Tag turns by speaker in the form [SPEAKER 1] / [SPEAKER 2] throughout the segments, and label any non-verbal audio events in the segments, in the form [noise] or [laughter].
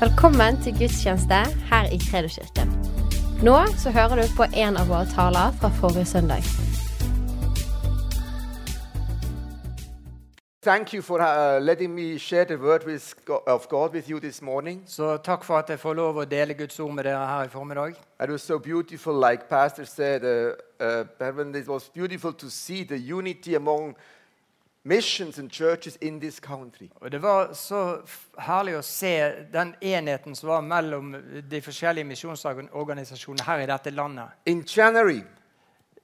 [SPEAKER 1] Velkommen til gudstjeneste her i Kredoskirken. Nå så hører du på en av våre taler fra forrige søndag.
[SPEAKER 2] Thank you for uh, letting me share the word with, Go- of God with you this morning.
[SPEAKER 3] Så takk for at jeg får lov å dele Guds ord med dere her i formiddag.
[SPEAKER 2] It was so beautiful, like Pastor said, uh, uh, Reverend, it was beautiful to see the unity among missions and churches in this country.
[SPEAKER 3] Og Det var så f- herlig å se den enheten som var mellom de forskjellige misjonsorganisasjonene her i dette landet.
[SPEAKER 2] In January,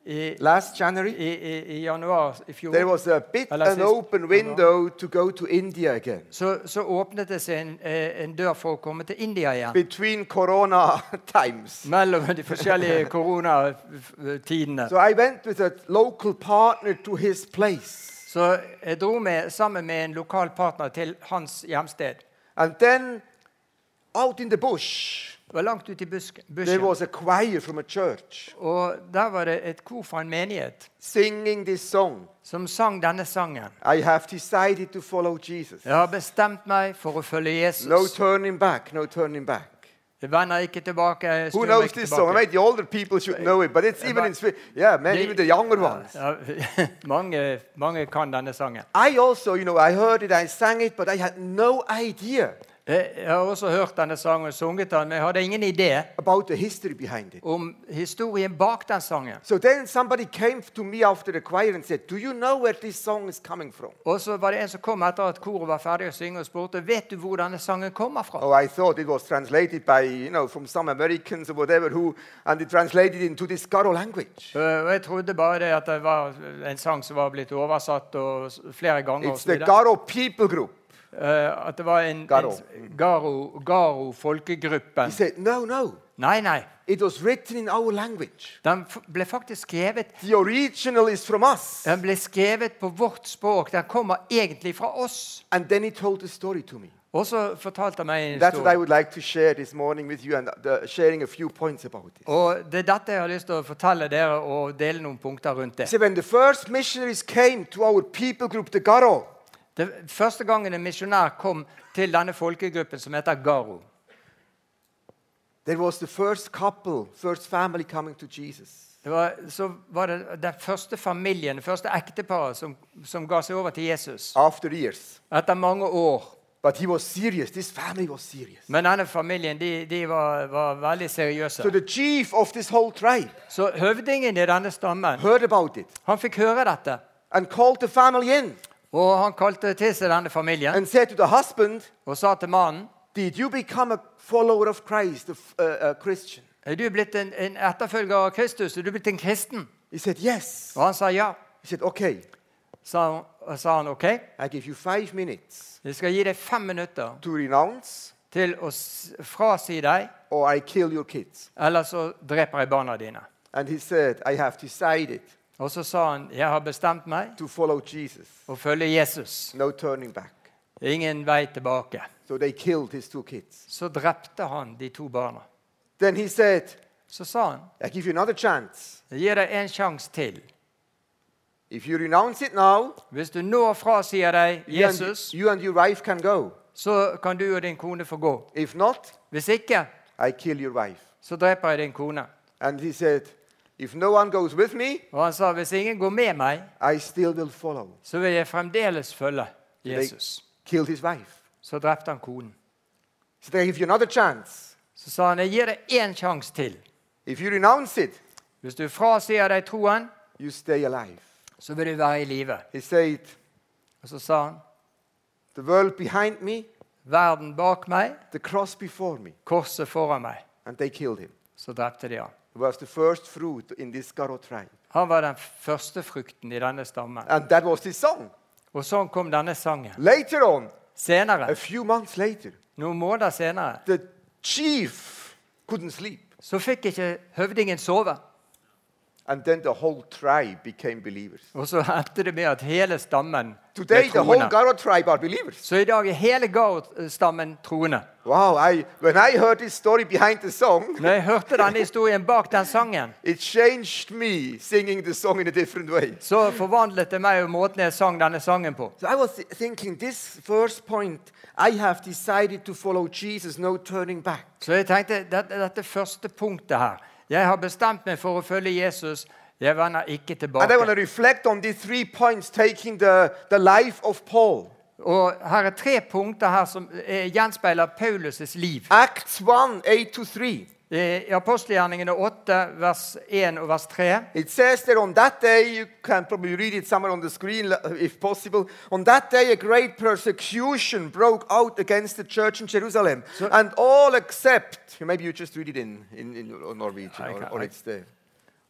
[SPEAKER 3] I,
[SPEAKER 2] last January,
[SPEAKER 3] i, i, i januar i fjor
[SPEAKER 2] there was a bit
[SPEAKER 3] Alas,
[SPEAKER 2] an
[SPEAKER 3] it's-
[SPEAKER 2] open window to go to India again.
[SPEAKER 3] så, så åpnet det seg en, eh, en dør for å komme til India igjen.
[SPEAKER 2] Between Corona [laughs] times.
[SPEAKER 3] Mellom de forskjellige koronatidene.
[SPEAKER 2] So I went with a local partner to his place.
[SPEAKER 3] Så jeg dro med, sammen med en lokal partner til hans hjemsted.
[SPEAKER 2] And then out in the bush,
[SPEAKER 3] Det var langt ute i busk-
[SPEAKER 2] there
[SPEAKER 3] bushen.
[SPEAKER 2] was a choir from a church.
[SPEAKER 3] Og der var det et kor fra en menighet.
[SPEAKER 2] singing this song,
[SPEAKER 3] som sang denne sangen.
[SPEAKER 2] I have decided to follow Jesus.
[SPEAKER 3] Jeg har bestemt meg for å følge
[SPEAKER 2] No
[SPEAKER 3] Jesus.
[SPEAKER 2] turning back, no turning back.
[SPEAKER 3] Jeg vender ikke tilbake. jeg
[SPEAKER 2] Who
[SPEAKER 3] snur
[SPEAKER 2] knows
[SPEAKER 3] meg
[SPEAKER 2] this
[SPEAKER 3] tilbake.
[SPEAKER 2] song? Maybe the older people should know it, but it's even in Swedish. Yeah, man,
[SPEAKER 3] They-
[SPEAKER 2] even the younger ones.
[SPEAKER 3] Ja, [laughs] mange, mange kan denne sangen.
[SPEAKER 2] I also, you know, I heard it, I sang it, but I had no idea
[SPEAKER 3] Jeg jeg har også hørt denne sangen og sunget den, men jeg hadde ingen idé
[SPEAKER 2] about the history behind it.
[SPEAKER 3] om historien bak den sangen.
[SPEAKER 2] So then somebody came to me after the choir and said, Do you know where this song is coming from?
[SPEAKER 3] Og så var det en som kom etter at koret var ferdig å synge, og spurte vet du hvor denne sangen kommer fra.
[SPEAKER 2] Oh, I thought it was translated by, you know, from some Americans or whatever, who, and they translated it into this Garo language.
[SPEAKER 3] Eh, Og jeg trodde bare det at det var en sang som var blitt oversatt og s- flere ganger. og
[SPEAKER 2] It's
[SPEAKER 3] så
[SPEAKER 2] the
[SPEAKER 3] videre.
[SPEAKER 2] Garo people group.
[SPEAKER 3] Eh, at det var en
[SPEAKER 2] Garo.
[SPEAKER 3] en- Garo, Garo folkegruppen.
[SPEAKER 2] He said, No, no.
[SPEAKER 3] Nei, nei.
[SPEAKER 2] It was written in our language.
[SPEAKER 3] Den f ble faktisk skrevet
[SPEAKER 2] The original is from us.
[SPEAKER 3] Den ble skrevet på vårt språk. Den kommer egentlig fra oss.
[SPEAKER 2] And then he told the story to me.
[SPEAKER 3] Og så fortalte han meg en
[SPEAKER 2] That's what I
[SPEAKER 3] historie.
[SPEAKER 2] would like to share this morning with you and uh, sharing a few points about it.
[SPEAKER 3] Og det er dette jeg har lyst til å fortelle dere og dele noen punkter rundt det.
[SPEAKER 2] See, when the first missionaries came to our people group, the Garo,
[SPEAKER 3] det første gangen en misjonær kom til denne folkegruppen som heter Garo,
[SPEAKER 2] there was the first couple, first family coming to Jesus.
[SPEAKER 3] det var, så var det den første familien, det første ekteparet, som, som ga seg over til Jesus.
[SPEAKER 2] After years.
[SPEAKER 3] Etter mange år.
[SPEAKER 2] But he was serious. This family was serious.
[SPEAKER 3] Men denne familien de, de var, var veldig seriøse.
[SPEAKER 2] So the chief of this whole tribe
[SPEAKER 3] Så høvdingen i denne stammen
[SPEAKER 2] heard about it
[SPEAKER 3] han fikk høre dette.
[SPEAKER 2] and called the family in
[SPEAKER 3] Og han kalte til seg denne familien
[SPEAKER 2] and said to the husband,
[SPEAKER 3] og sa til mannen
[SPEAKER 2] Did you become a follower of Christ, a, f- a- a Christian?
[SPEAKER 3] er du blitt en, en etterfølger av Kristus, er du blitt en kristen?
[SPEAKER 2] He said, Yes.
[SPEAKER 3] Og han sa ja.
[SPEAKER 2] He said, Okay,
[SPEAKER 3] Sa, han- og sa han OK,
[SPEAKER 2] I give you five minutes
[SPEAKER 3] jeg skal gi deg fem minutter
[SPEAKER 2] to renounce,
[SPEAKER 3] til å s- frasi deg,
[SPEAKER 2] or I kill your kids.
[SPEAKER 3] eller så dreper jeg barna dine.
[SPEAKER 2] And he said, I have decided
[SPEAKER 3] Og så sa han jeg har bestemt meg
[SPEAKER 2] to follow Jesus.
[SPEAKER 3] å følge Jesus.
[SPEAKER 2] No turning back.
[SPEAKER 3] Ingen vei tilbake.
[SPEAKER 2] So they killed his two kids.
[SPEAKER 3] Så drepte han de to barna.
[SPEAKER 2] Then he said,
[SPEAKER 3] Så sa han
[SPEAKER 2] I give you another chance.
[SPEAKER 3] jeg gir deg en sjanse til.
[SPEAKER 2] If you renounce it now,
[SPEAKER 3] Hvis du nå frasier deg
[SPEAKER 2] you and-
[SPEAKER 3] Jesus,
[SPEAKER 2] you and your wife can go.
[SPEAKER 3] så kan du og din kone få gå.
[SPEAKER 2] If not,
[SPEAKER 3] Hvis ikke,
[SPEAKER 2] I kill your wife.
[SPEAKER 3] så dreper jeg din kone.
[SPEAKER 2] And he said, If no one goes with me,
[SPEAKER 3] Og han sa, hvis ingen går med meg,
[SPEAKER 2] I still will follow.
[SPEAKER 3] så vil jeg fremdeles følge Jesus.
[SPEAKER 2] Killed his wife.
[SPEAKER 3] Så drepte han konen.
[SPEAKER 2] So they give you another chance.
[SPEAKER 3] Så sa han, jeg gir deg én sjanse til.
[SPEAKER 2] If you renounce it,
[SPEAKER 3] Hvis du frasier deg troen,
[SPEAKER 2] you stay alive.
[SPEAKER 3] så vil du være i live.
[SPEAKER 2] He said,
[SPEAKER 3] Og så sa han,
[SPEAKER 2] The world behind me,
[SPEAKER 3] verden bak meg,
[SPEAKER 2] the cross before me.
[SPEAKER 3] korset foran meg.
[SPEAKER 2] And they killed him.
[SPEAKER 3] Så drepte de han.
[SPEAKER 2] He was the first fruit in this Garo tribe.
[SPEAKER 3] Han var den første frukten i denne stammen.
[SPEAKER 2] And that was his song.
[SPEAKER 3] Og sånn kom denne sangen.
[SPEAKER 2] Later on,
[SPEAKER 3] Senere,
[SPEAKER 2] a few months later,
[SPEAKER 3] noen måneder senere,
[SPEAKER 2] the chief couldn't sleep.
[SPEAKER 3] så fikk ikke høvdingen sove.
[SPEAKER 2] and then the whole tribe became believers.
[SPEAKER 3] Og så [laughs] endte det med at hele stammen ble
[SPEAKER 2] Today, the whole
[SPEAKER 3] troende.
[SPEAKER 2] Garo tribe are believers.
[SPEAKER 3] Så i dag er hele Gao-stammen troende.
[SPEAKER 2] Wow, I, when I heard this story behind the song,
[SPEAKER 3] Når jeg hørte denne historien bak den sangen,
[SPEAKER 2] it changed me singing the song in a different way.
[SPEAKER 3] så forvandlet det meg og måten jeg sang denne sangen på.
[SPEAKER 2] So I was thi- thinking, this first point, I have decided to follow Jesus, no turning back.
[SPEAKER 3] Så jeg tenkte dette, dette første punktet her Jeg har bestemt meg for å følge Jesus. Jeg vender ikke
[SPEAKER 2] And I want to
[SPEAKER 3] tilbake.
[SPEAKER 2] reflect on these three points, taking the, the life of Paul.
[SPEAKER 3] Og her er tre punkter her som eh, gjenspeiler Paulus' liv. Eh,
[SPEAKER 2] Acts 1 8 to 3.
[SPEAKER 3] I apostelgjerningene 8, vers 1 og vers 3.
[SPEAKER 2] It says that on that day, you can probably read it somewhere on the screen uh, if possible. On that day, a great persecution broke out against the church in Jerusalem. and all except, maybe you just read it in, in, in Norwegian,
[SPEAKER 3] I
[SPEAKER 2] or,
[SPEAKER 3] can't-
[SPEAKER 2] or
[SPEAKER 3] I-
[SPEAKER 2] it's there.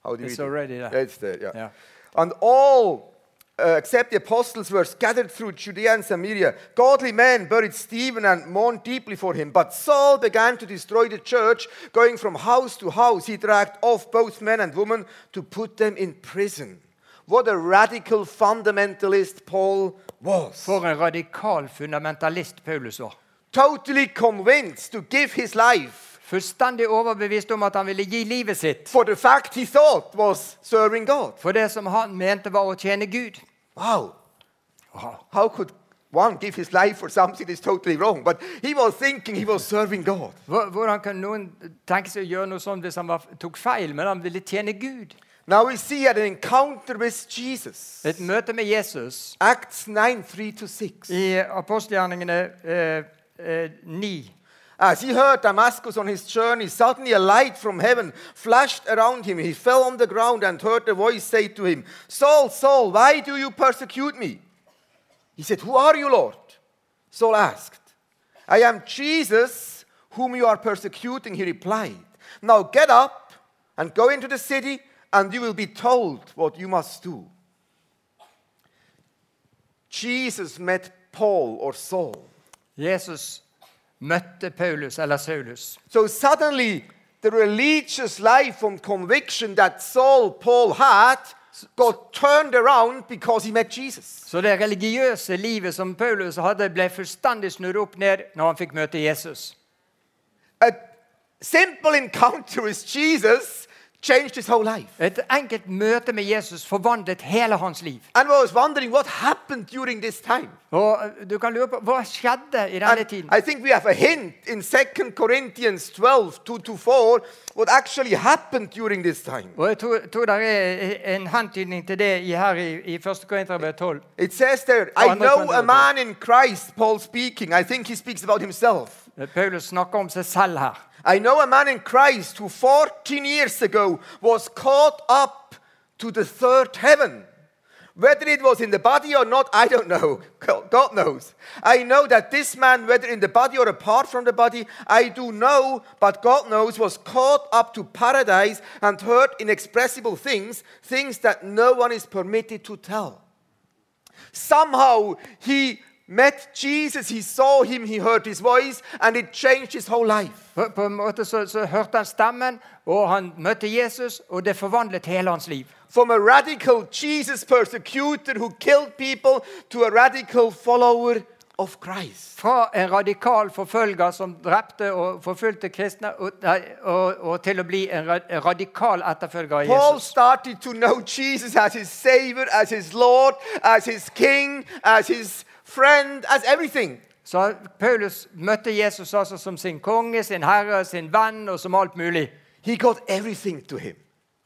[SPEAKER 2] How do you
[SPEAKER 3] It's
[SPEAKER 2] read it?
[SPEAKER 3] already there.
[SPEAKER 2] Yeah, It's there, yeah.
[SPEAKER 3] Yeah.
[SPEAKER 2] And all uh, except the apostles were scattered through Judea and Samaria. Godly men buried Stephen and mourned deeply for him. But Saul began to destroy the church, going from house to house. He dragged off both men and women to put them in prison. What a radical fundamentalist Paul was.
[SPEAKER 3] For en radikal fundamentalist Paulus var.
[SPEAKER 2] Totally convinced to give his life
[SPEAKER 3] Fullstendig overbevist om at han ville gi livet sitt
[SPEAKER 2] for the fact he thought was serving God.
[SPEAKER 3] for det som han mente var å tjene Gud.
[SPEAKER 2] Wow.
[SPEAKER 3] Wow.
[SPEAKER 2] How could one give his life for something that's totally wrong? But he was thinking he was serving God.
[SPEAKER 3] Hvor- Hvordan kan noen tenke seg å gjøre noe sånt hvis han var, tok feil, men han ville tjene Gud?
[SPEAKER 2] Now we see an encounter with Jesus.
[SPEAKER 3] Et møte med Jesus
[SPEAKER 2] Acts 9 3 to 6.
[SPEAKER 3] i apostelgjerningene eh, eh, 9.
[SPEAKER 2] As he heard Damascus on his journey, suddenly a light from heaven flashed around him. He fell on the ground and heard a voice say to him, Saul, Saul, why do you persecute me? He said, Who are you, Lord? Saul asked, I am Jesus, whom you are persecuting, he replied. Now get up and go into the city, and you will be told what you must do. Jesus met Paul or Saul.
[SPEAKER 3] Jesus møtte Paulus, eller Saulus.
[SPEAKER 2] So suddenly, the religious life and conviction that Saul Paul had got turned around because he met Jesus.
[SPEAKER 3] Så det religiøse livet som Paulus hadde, ble fullstendig snudd opp ned når han fikk møte Jesus.
[SPEAKER 2] A simple encounter with Jesus changed his whole life.
[SPEAKER 3] Et enkelt møte med Jesus forvandlet hele hans liv.
[SPEAKER 2] And I was wondering what happened during this time.
[SPEAKER 3] Og eh, du kan lure på, Hva skjedde i denne
[SPEAKER 2] And
[SPEAKER 3] tiden?
[SPEAKER 2] I think we have a hint in 2 Corinthians 12 2 to 4 what actually happened during this time.
[SPEAKER 3] Og jeg tror, tror det er en hentydning til det i, her i, i 1. Korinterbrev 12.
[SPEAKER 2] It says there, I
[SPEAKER 3] Oh, I'm not
[SPEAKER 2] know a
[SPEAKER 3] wondering.
[SPEAKER 2] man in Christ, Paul speaking. I think he speaks about himself.
[SPEAKER 3] Paulus snakker om seg selv her.
[SPEAKER 2] I know a man in Christ who 14 years ago was caught up to the third heaven. Whether it was in the body or not, I don't know. God God knows. I know that this man, whether in the body or apart from the body, I do know, but God knows, was caught up to paradise and heard inexpressible things, things that no one is permitted to tell. Somehow he met Jesus, he saw him, he heard his voice, and it changed his whole life.
[SPEAKER 3] På, på en måte så, så hørte han stemmen, og han møtte Jesus, og det forvandlet hele hans liv.
[SPEAKER 2] from a radical Jesus persecutor who killed people to a radical follower of Christ.
[SPEAKER 3] Fra en radikal forfølger som drepte og forfulgte kristne, og, nei, og, og til å bli en ra- en radikal etterfølger av
[SPEAKER 2] Paul
[SPEAKER 3] Jesus.
[SPEAKER 2] started to know Jesus as his Savior, as his Lord, as his King, as his friend, as everything.
[SPEAKER 3] Så Paulus møtte Jesus altså som sin konge, sin herre, sin venn og som alt mulig.
[SPEAKER 2] He got everything to him.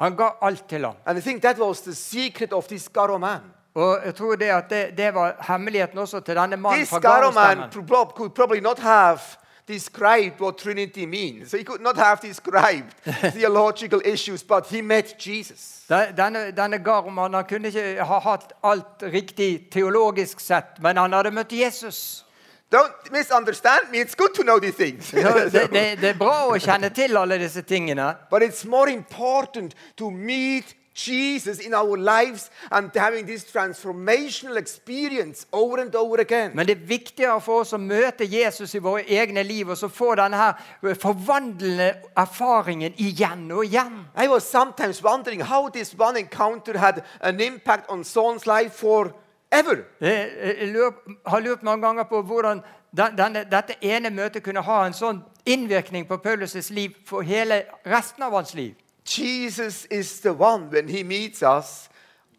[SPEAKER 3] Han ga alt til ham.
[SPEAKER 2] And I think that was the secret of this Garo man.
[SPEAKER 3] Og jeg tror det at det, det var hemmeligheten også til denne mannen
[SPEAKER 2] This
[SPEAKER 3] fra
[SPEAKER 2] Garo man
[SPEAKER 3] Garostemmen.
[SPEAKER 2] prob- could probably not have described what Trinity means. He could not have [laughs] described theological issues, but he met Jesus.
[SPEAKER 3] Den- Denne, denne Garoman han kunne ikke ha hatt alt riktig teologisk sett, men han hadde møtt Jesus.
[SPEAKER 2] Don't misunderstand me. It's good to know these things.
[SPEAKER 3] Så
[SPEAKER 2] [laughs]
[SPEAKER 3] Det, det, det er bra å kjenne til alle disse tingene,
[SPEAKER 2] but it's more important to meet Jesus in our lives and having this transformational experience over and over again.
[SPEAKER 3] Men det er viktigere for oss å møte Jesus i våre egne liv og så få denne her forvandlende erfaringen igjen og igjen.
[SPEAKER 2] I was sometimes wondering how this one encounter had an impact on Saul's life forever.
[SPEAKER 3] Jeg Eh, jeg lurer- har lurt mange ganger på hvordan den- denne, dette ene møtet kunne ha en sånn innvirkning på Paulus' liv for hele resten av hans liv.
[SPEAKER 2] Jesus is the one when he meets us,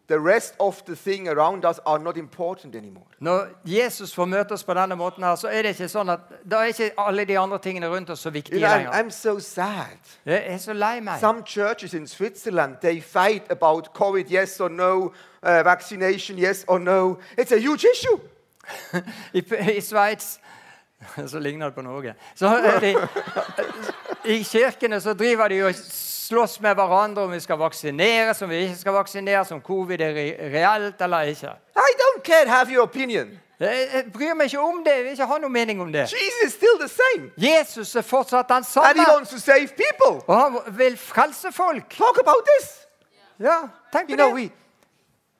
[SPEAKER 2] the rest of the thing around us are not important anymore.
[SPEAKER 3] Når Jesus får møte oss på denne måten, her, så er det ikke sånn at da er ikke alle de andre tingene rundt oss så
[SPEAKER 2] You
[SPEAKER 3] viktige
[SPEAKER 2] know, I'm,
[SPEAKER 3] lenger.
[SPEAKER 2] I'm so sad.
[SPEAKER 3] Jeg er så lei meg.
[SPEAKER 2] Some churches in Switzerland, they fight about COVID, yes or no, uh, vaccination, yes or no. It's a huge issue.
[SPEAKER 3] I, i Sveits [laughs] Så ligner det på Norge. Så er de, I kirkene så driver de og slåss med hverandre om vi skal vaksineres, om vi ikke skal vaksineres, om covid er re- reelt eller ikke.
[SPEAKER 2] I don't care, have your opinion.
[SPEAKER 3] Jeg, jeg bryr meg ikke om det. Jeg vil ikke ha noen mening om det.
[SPEAKER 2] Jesus is still the same.
[SPEAKER 3] Jesus er fortsatt den
[SPEAKER 2] And he
[SPEAKER 3] samme,
[SPEAKER 2] wants to save people.
[SPEAKER 3] og han vil frelse folk.
[SPEAKER 2] Talk about this.
[SPEAKER 3] Ja, tenk
[SPEAKER 2] You
[SPEAKER 3] på
[SPEAKER 2] know,
[SPEAKER 3] det.
[SPEAKER 2] we,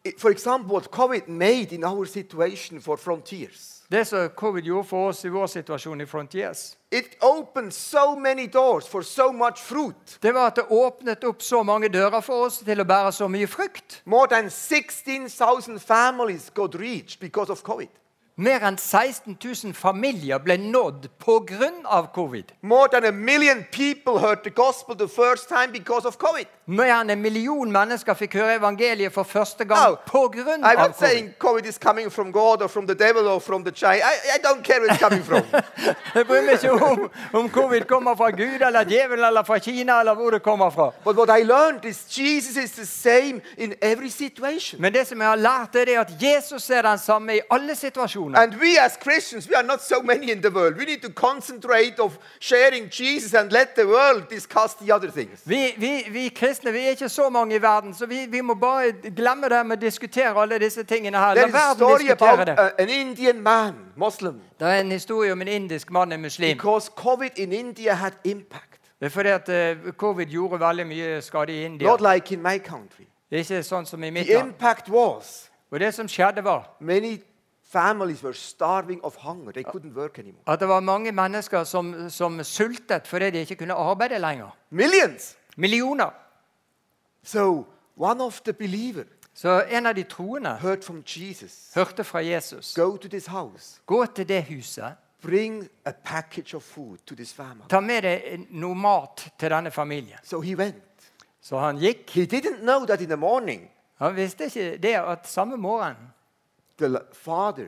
[SPEAKER 2] it- for example, what COVID made in our situation for Frontiers,
[SPEAKER 3] Det som covid gjorde for oss i vår situasjon i Frontiers,
[SPEAKER 2] it opened so many doors for so much fruit.
[SPEAKER 3] det var at det åpnet opp så mange dører for oss til å bære så mye frukt.
[SPEAKER 2] More than 16,000 families got reached because of COVID.
[SPEAKER 3] Mer enn 16 000 familier ble nådd pga. covid.
[SPEAKER 2] More than a million people heard the gospel the first time because of COVID.
[SPEAKER 3] Mer enn en million mennesker fikk høre evangeliet for første
[SPEAKER 2] Now,
[SPEAKER 3] gang pga.
[SPEAKER 2] I'm not
[SPEAKER 3] covid.
[SPEAKER 2] saying COVID is coming from God or from the devil or from the child. I, I don't care where it's coming from.
[SPEAKER 3] Jeg bryr meg ikke om om covid kommer fra Gud eller djevelen eller fra Kina eller hvor det kommer fra.
[SPEAKER 2] but what I learned is Jesus is the same in every situation.
[SPEAKER 3] Men det som jeg har lært, er det at Jesus er den samme i alle situasjoner.
[SPEAKER 2] And we as Christians, we are not so many in the world. We need to concentrate of sharing Jesus and let the world discuss the other things.
[SPEAKER 3] Vi, vi, vi kristne vi er ikke så mange i verden, så vi, vi må bare glemme det med å diskutere alle disse tingene her. La
[SPEAKER 2] There is a
[SPEAKER 3] verden
[SPEAKER 2] story
[SPEAKER 3] diskutere
[SPEAKER 2] about
[SPEAKER 3] det.
[SPEAKER 2] uh, an Indian man, Muslim,
[SPEAKER 3] Det er en historie om en indisk mann, en muslim.
[SPEAKER 2] because COVID in India had impact.
[SPEAKER 3] Det er fordi at eh, covid gjorde veldig mye skade i India.
[SPEAKER 2] Not like in my country.
[SPEAKER 3] Det er ikke sånn som i mitt
[SPEAKER 2] The
[SPEAKER 3] land.
[SPEAKER 2] impact was
[SPEAKER 3] Og det som skjedde, var
[SPEAKER 2] many families were starving of hunger. They couldn't work anymore.
[SPEAKER 3] at det var mange mennesker som, som sultet fordi de ikke kunne arbeide lenger.
[SPEAKER 2] Millions.
[SPEAKER 3] Millioner.
[SPEAKER 2] So one of the believer
[SPEAKER 3] Så en av de troende
[SPEAKER 2] heard from Jesus,
[SPEAKER 3] hørte fra Jesus.
[SPEAKER 2] go to this house,
[SPEAKER 3] Gå til det huset.
[SPEAKER 2] bring a package of food to this family.
[SPEAKER 3] Ta med deg noe mat til denne familien.
[SPEAKER 2] So he went.
[SPEAKER 3] Så han gikk.
[SPEAKER 2] He didn't know that in the morning
[SPEAKER 3] Han visste ikke det at samme morgen
[SPEAKER 2] the l- father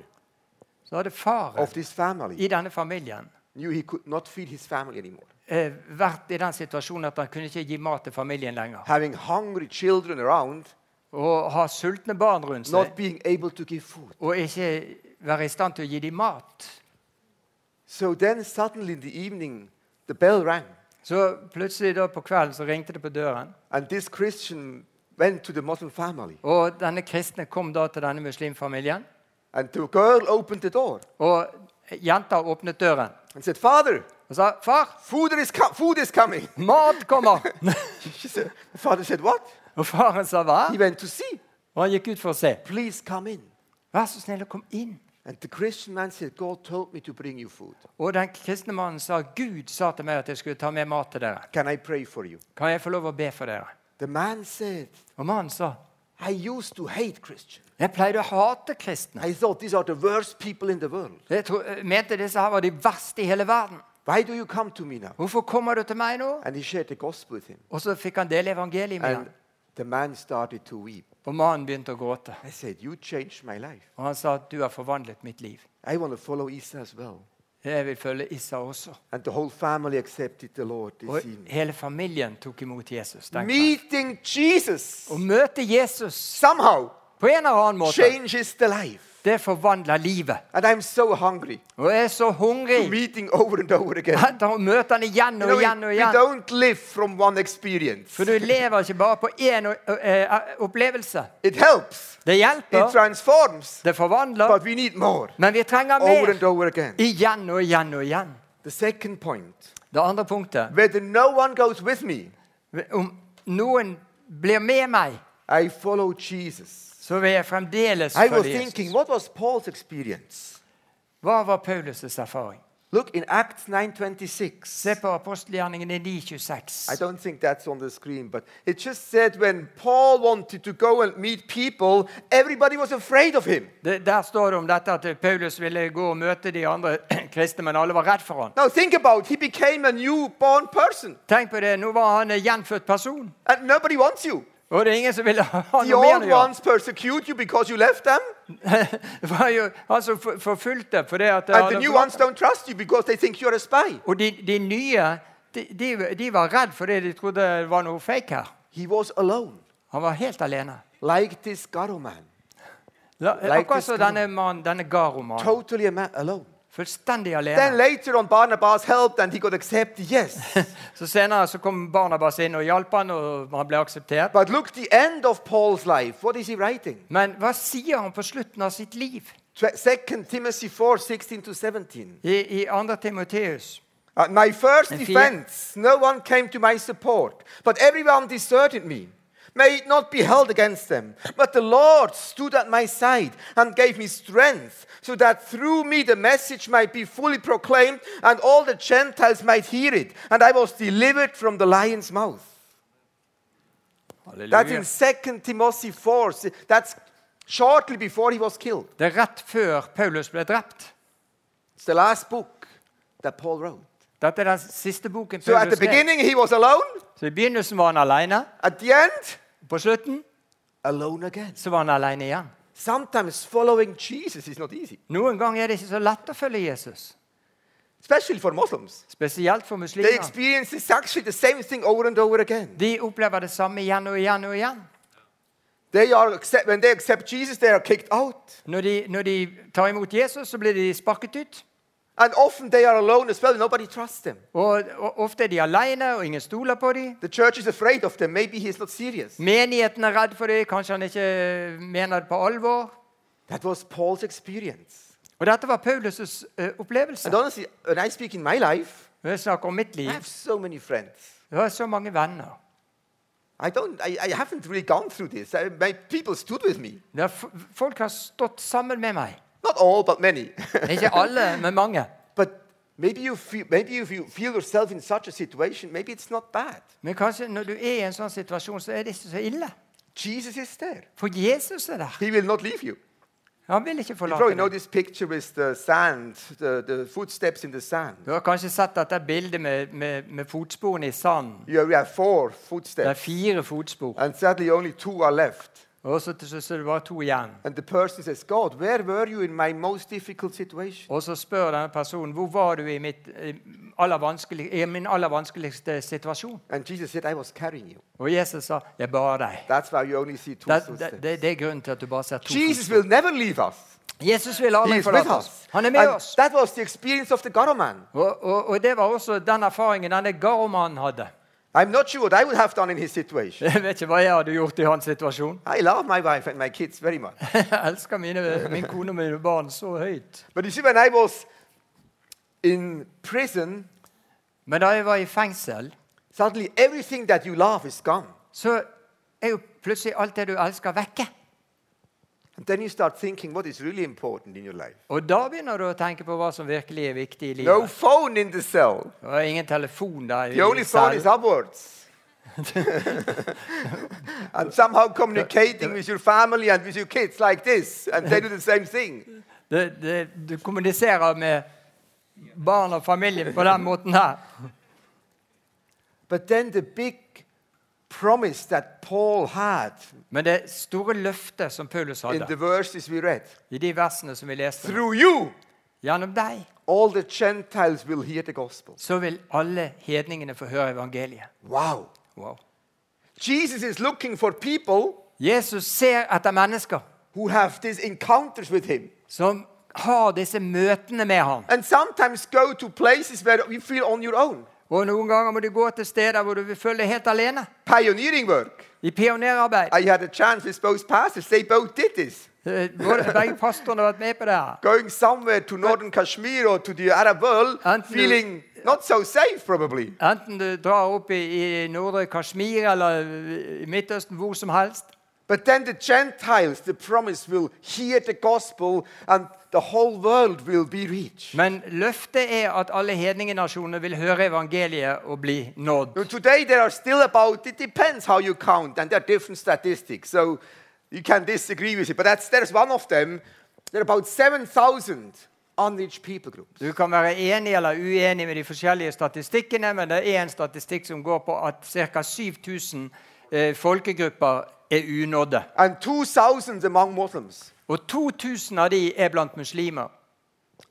[SPEAKER 3] så hadde faren
[SPEAKER 2] of this family
[SPEAKER 3] i denne familien
[SPEAKER 2] knew he could not feed his family anymore.
[SPEAKER 3] eh, vært i den situasjonen at han kunne ikke gi mat til familien lenger.
[SPEAKER 2] Having hungry children around,
[SPEAKER 3] Og ha sultne barn rundt seg.
[SPEAKER 2] not being able to give food.
[SPEAKER 3] og ikke være i stand til å gi dem mat.
[SPEAKER 2] So then suddenly in the evening, the bell rang.
[SPEAKER 3] Så plutselig da på kvelden så ringte det på døren,
[SPEAKER 2] And this Christian went to the Muslim family.
[SPEAKER 3] og denne kristne kom da til denne muslimfamilien,
[SPEAKER 2] And the girl opened the door
[SPEAKER 3] og jenta åpnet døren
[SPEAKER 2] and said, Father,
[SPEAKER 3] og sa, far,
[SPEAKER 2] food is, co- food is coming. [laughs]
[SPEAKER 3] mat kommer! [laughs]
[SPEAKER 2] She said, the father said, What?
[SPEAKER 3] og faren sa, hva?
[SPEAKER 2] He went to see.
[SPEAKER 3] Og han gikk ut for å se.
[SPEAKER 2] Please come in.
[SPEAKER 3] Vær så snill å komme inn.
[SPEAKER 2] And the Christian man said, God told me to bring you food.
[SPEAKER 3] Og den kristne mannen sa, Gud sa til meg at jeg skulle ta med mat til dere.
[SPEAKER 2] Can I pray for you?
[SPEAKER 3] Kan jeg få lov å be for dere?
[SPEAKER 2] The man said,
[SPEAKER 3] Og mannen sa,
[SPEAKER 2] I used to hate Christians.
[SPEAKER 3] jeg pleide å hate kristne.
[SPEAKER 2] I thought these are the worst people in the world.
[SPEAKER 3] Jeg tro, mente disse her var de verste i hele verden.
[SPEAKER 2] Why do you come to me now?
[SPEAKER 3] Hvorfor kommer du til meg nå?
[SPEAKER 2] And he shared the gospel with him.
[SPEAKER 3] Og så fikk han dele evangeliet med
[SPEAKER 2] And
[SPEAKER 3] ham.
[SPEAKER 2] the man started to weep.
[SPEAKER 3] Og mannen begynte å gråte.
[SPEAKER 2] I said, You changed my life.
[SPEAKER 3] Og han sa at du har forvandlet mitt liv.
[SPEAKER 2] I want to follow Isa as well.
[SPEAKER 3] Jeg vil følge Issa også.
[SPEAKER 2] And the whole family accepted the Lord this
[SPEAKER 3] Og
[SPEAKER 2] evening.
[SPEAKER 3] hele familien tok imot Jesus. den kvelden.
[SPEAKER 2] Meeting Jesus
[SPEAKER 3] Å møte Jesus
[SPEAKER 2] somehow
[SPEAKER 3] på en eller annen måte,
[SPEAKER 2] changes the life.
[SPEAKER 3] det forvandler livet.
[SPEAKER 2] And I'm so hungry
[SPEAKER 3] Og jeg er så
[SPEAKER 2] to
[SPEAKER 3] hungrig
[SPEAKER 2] meeting over and over again.
[SPEAKER 3] etter å møte [laughs] han igjen
[SPEAKER 2] You
[SPEAKER 3] og
[SPEAKER 2] know, we,
[SPEAKER 3] igjen og
[SPEAKER 2] we
[SPEAKER 3] igjen.
[SPEAKER 2] don't live from one experience.
[SPEAKER 3] For du lever ikke bare på én o- ø- ø- opplevelse.
[SPEAKER 2] It helps.
[SPEAKER 3] Det
[SPEAKER 2] It
[SPEAKER 3] hjelper,
[SPEAKER 2] transforms.
[SPEAKER 3] det forvandler,
[SPEAKER 2] But we need more.
[SPEAKER 3] men vi trenger
[SPEAKER 2] Over and
[SPEAKER 3] mer.
[SPEAKER 2] over again.
[SPEAKER 3] Igjen og igjen og igjen.
[SPEAKER 2] The second point.
[SPEAKER 3] Det andre punktet
[SPEAKER 2] Whether no one goes with me,
[SPEAKER 3] Om noen blir med meg,
[SPEAKER 2] I follow Jesus.
[SPEAKER 3] så vil jeg fremdeles
[SPEAKER 2] I was
[SPEAKER 3] følge Jesus.
[SPEAKER 2] thinking, what was Paul's experience?
[SPEAKER 3] Hva var Paulus' erfaring?
[SPEAKER 2] Look in Acts 9:26.
[SPEAKER 3] Se på apostelgjerningene
[SPEAKER 2] I
[SPEAKER 3] 9,26.
[SPEAKER 2] don't think that's on the screen, but it just said when Paul wanted to go and meet people, everybody was afraid of him.
[SPEAKER 3] Det, der står det om dette at Paulus ville gå og møte de andre [clears throat] kristne, men alle var redd for han.
[SPEAKER 2] Now think about, it. he became a newborn person,
[SPEAKER 3] Tenk på det, nå var han en gjenfødt person.
[SPEAKER 2] and nobody wants you.
[SPEAKER 3] Og det er ingen som ville ha
[SPEAKER 2] The
[SPEAKER 3] noe med
[SPEAKER 2] old
[SPEAKER 3] han å gjøre.
[SPEAKER 2] ones persecute you because you left them,
[SPEAKER 3] [laughs] Det var jo han som for- forfulgte fordi at det
[SPEAKER 2] and the
[SPEAKER 3] hadde-
[SPEAKER 2] new ones don't trust you because they think you're a spy.
[SPEAKER 3] Og de, de nye, de, de, de var redd fordi de trodde det var noe fake her.
[SPEAKER 2] He was alone,
[SPEAKER 3] Han var helt alene.
[SPEAKER 2] like this Garo man,
[SPEAKER 3] La,
[SPEAKER 2] Like
[SPEAKER 3] akkurat
[SPEAKER 2] this
[SPEAKER 3] som
[SPEAKER 2] guy.
[SPEAKER 3] denne mannen, denne Garo-mannen.
[SPEAKER 2] totally ama- alone.
[SPEAKER 3] Fullstendig
[SPEAKER 2] Then
[SPEAKER 3] alene.
[SPEAKER 2] later on, Barnabas helped and he got accepted, yes.
[SPEAKER 3] Så senere så kom Barnabas inn og hjalp han, og han ble akseptert.
[SPEAKER 2] but look, the end of Paul's life, what is he writing?
[SPEAKER 3] Men hva sier han på slutten av sitt liv?
[SPEAKER 2] Tw- 2 Timothy 4 16 to 17.
[SPEAKER 3] I, i 2. Timoteus.
[SPEAKER 2] At my first
[SPEAKER 3] And fear-
[SPEAKER 2] defense, no one came to my support, but everyone deserted me. May it not be held against them. But the Lord stood at my side and gave me strength, so that through me the message might be fully proclaimed and all the Gentiles might hear it. And I was delivered from the lion's mouth.
[SPEAKER 3] Halleluja.
[SPEAKER 2] That's in 2 Timothy 4. S- That's shortly before he was killed.
[SPEAKER 3] Det er rett før Paulus ble drept.
[SPEAKER 2] It's the last book that Paul wrote.
[SPEAKER 3] Dette er den siste boken
[SPEAKER 2] So at the
[SPEAKER 3] Paulus skrev.
[SPEAKER 2] beginning he was alone,
[SPEAKER 3] Så I begynnelsen var han alene.
[SPEAKER 2] at the end,
[SPEAKER 3] På slutten
[SPEAKER 2] alone again.
[SPEAKER 3] så var han alene igjen.
[SPEAKER 2] Sometimes following Jesus is not easy,
[SPEAKER 3] Noen ganger er det ikke så lett å følge Jesus.
[SPEAKER 2] especially for Muslims.
[SPEAKER 3] Spesielt for
[SPEAKER 2] They
[SPEAKER 3] muslimer.
[SPEAKER 2] experience this actually the same thing over and over again.
[SPEAKER 3] De opplever det samme igjen og igjen og igjen.
[SPEAKER 2] They are accept, when they accept Jesus, they are kicked out,
[SPEAKER 3] Når de, når de tar imot Jesus, så blir de sparket ut.
[SPEAKER 2] and often they are alone as well. Nobody trusts them.
[SPEAKER 3] Og, og ofte er de alene, og ingen stoler på dem.
[SPEAKER 2] The church is afraid of them. Maybe he is not serious.
[SPEAKER 3] Menigheten er redd for dem. Kanskje han ikke mener det på alvor.
[SPEAKER 2] That was Paul's experience.
[SPEAKER 3] Og dette var Paulus' eh, opplevelse.
[SPEAKER 2] And honestly, when I speak in my life,
[SPEAKER 3] Når jeg snakker om mitt
[SPEAKER 2] I
[SPEAKER 3] liv,
[SPEAKER 2] have so many friends.
[SPEAKER 3] jeg har så mange venner.
[SPEAKER 2] I don't. I, I haven't really gone through this. I, my people stood with me.
[SPEAKER 3] Det er f- folk har stått sammen med meg.
[SPEAKER 2] Not all, but many. [laughs]
[SPEAKER 3] Ikke alle, men mange.
[SPEAKER 2] but maybe you feel. Maybe if you feel yourself in such a situation, maybe it's not bad.
[SPEAKER 3] Men kanskje når du er i en sånn situasjon, så er det ikke så ille.
[SPEAKER 2] Jesus is there.
[SPEAKER 3] For Jesus er der.
[SPEAKER 2] He will not leave you.
[SPEAKER 3] Han vil ikke
[SPEAKER 2] You
[SPEAKER 3] forlate
[SPEAKER 2] probably
[SPEAKER 3] deg.
[SPEAKER 2] know this picture with the sand, the, the footsteps in the sand.
[SPEAKER 3] Du har kanskje sett dette bildet med, med, med fotsporene i sanden.
[SPEAKER 2] You have four
[SPEAKER 3] Det er
[SPEAKER 2] footsteps,
[SPEAKER 3] fire fotspor,
[SPEAKER 2] and sadly only two are left.
[SPEAKER 3] og så til slutt er det bare to igjen.
[SPEAKER 2] And the person says, God, where were you in my most difficult situation?
[SPEAKER 3] Og så spør denne personen hvor var du i, mitt, eh, aller vanskelig, i min aller vanskeligste situasjon.
[SPEAKER 2] And Jesus said, I was carrying you.
[SPEAKER 3] Og Jesus sa 'jeg bar deg'.
[SPEAKER 2] That's why you only see two
[SPEAKER 3] Det, det,
[SPEAKER 2] footsteps.
[SPEAKER 3] det, det er grunnen til at du bare ser to
[SPEAKER 2] Jesus
[SPEAKER 3] fotspor.
[SPEAKER 2] will never leave us.
[SPEAKER 3] Jesus vil
[SPEAKER 2] He
[SPEAKER 3] aldri
[SPEAKER 2] is with
[SPEAKER 3] forlate oss.
[SPEAKER 2] us.
[SPEAKER 3] Han er med
[SPEAKER 2] And
[SPEAKER 3] oss.
[SPEAKER 2] that was the experience of the Garo man.
[SPEAKER 3] Og, og, og det var også den erfaringen denne garomannen hadde. [laughs]
[SPEAKER 2] I'm not sure what I would have done in his situation.
[SPEAKER 3] Jeg vet ikke hva jeg hadde gjort i hans situasjon.
[SPEAKER 2] I love my wife and my kids very much.
[SPEAKER 3] [laughs] Jeg elsker mine, min kone og mine barn så høyt.
[SPEAKER 2] But you see, when I was in prison,
[SPEAKER 3] Men da jeg var i fengsel
[SPEAKER 2] Suddenly, everything that you love is gone.
[SPEAKER 3] så er jo plutselig alt det du elsker, vekke.
[SPEAKER 2] And then you start thinking what is really important in your life.
[SPEAKER 3] Og da begynner du å tenke på hva som virkelig er viktig i
[SPEAKER 2] No
[SPEAKER 3] livet.
[SPEAKER 2] phone in the cell.
[SPEAKER 3] Det var ingen telefon der. i
[SPEAKER 2] The only phone is
[SPEAKER 3] cellen.
[SPEAKER 2] upwards. [laughs] and somehow communicating with your family and with your kids like this. And they do the same thing. [laughs]
[SPEAKER 3] Det, det, du kommuniserer med barn og familie på den måten her.
[SPEAKER 2] But then the big promise that Paul had
[SPEAKER 3] Men det store løftet som Paulus
[SPEAKER 2] in the
[SPEAKER 3] hadde,
[SPEAKER 2] verses we read
[SPEAKER 3] i de versene som vi leste
[SPEAKER 2] through you,
[SPEAKER 3] Gjennom deg
[SPEAKER 2] all the Gentiles will hear the gospel.
[SPEAKER 3] så vil alle hedningene få høre evangeliet.
[SPEAKER 2] Wow.
[SPEAKER 3] Wow.
[SPEAKER 2] Jesus is looking for people
[SPEAKER 3] Jesus ser etter mennesker
[SPEAKER 2] who have these encounters with him.
[SPEAKER 3] som har disse møtene med ham.
[SPEAKER 2] and sometimes go to places where you feel on your own.
[SPEAKER 3] Og noen ganger må du gå til steder hvor du vil føle deg helt alene.
[SPEAKER 2] Pioneering work.
[SPEAKER 3] I pionerarbeid.
[SPEAKER 2] I had a chance with both pastors. They both did this.
[SPEAKER 3] Eh, Både begge pastorene har vært med på det her.
[SPEAKER 2] Going somewhere to northern Kashmir or to the Arab world,
[SPEAKER 3] And you-
[SPEAKER 2] feeling not so safe probably.
[SPEAKER 3] Enten du drar opp i, i nordre Kashmir eller i Midtøsten, hvor som helst.
[SPEAKER 2] But then the Gentiles, the promise, will hear the gospel and the whole world will be reached.
[SPEAKER 3] Men løftet er at alle hedningenasjonene vil høre evangeliet og bli nådd.
[SPEAKER 2] Now, today there are still about, it depends how you count, and there are different statistics. So you can disagree with it, but that's, there's one of them. There are about 7,000 unreached people groups.
[SPEAKER 3] Du kan være enig eller uenig med de forskjellige statistikkene, men det er en statistikk som går på at ca. 7000 eh, folkegrupper er unådde.
[SPEAKER 2] And 2,000 among Muslims.
[SPEAKER 3] Og 2000 av de er blant muslimer.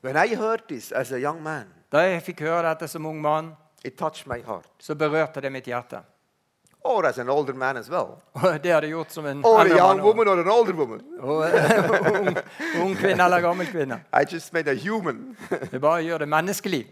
[SPEAKER 2] When I heard this as a young man,
[SPEAKER 3] Da jeg fikk høre dette som ung mann,
[SPEAKER 2] it touched my heart,
[SPEAKER 3] så berørte det mitt hjerte.
[SPEAKER 2] or as an older man as well,
[SPEAKER 3] Og det har det gjort som en
[SPEAKER 2] or a
[SPEAKER 3] eldre
[SPEAKER 2] young
[SPEAKER 3] mann
[SPEAKER 2] woman or an older woman.
[SPEAKER 3] og- og [laughs] ung, ung kvinne eller gammel kvinne.
[SPEAKER 2] I just made a human. [laughs]
[SPEAKER 3] Det bare gjør det menneskelig.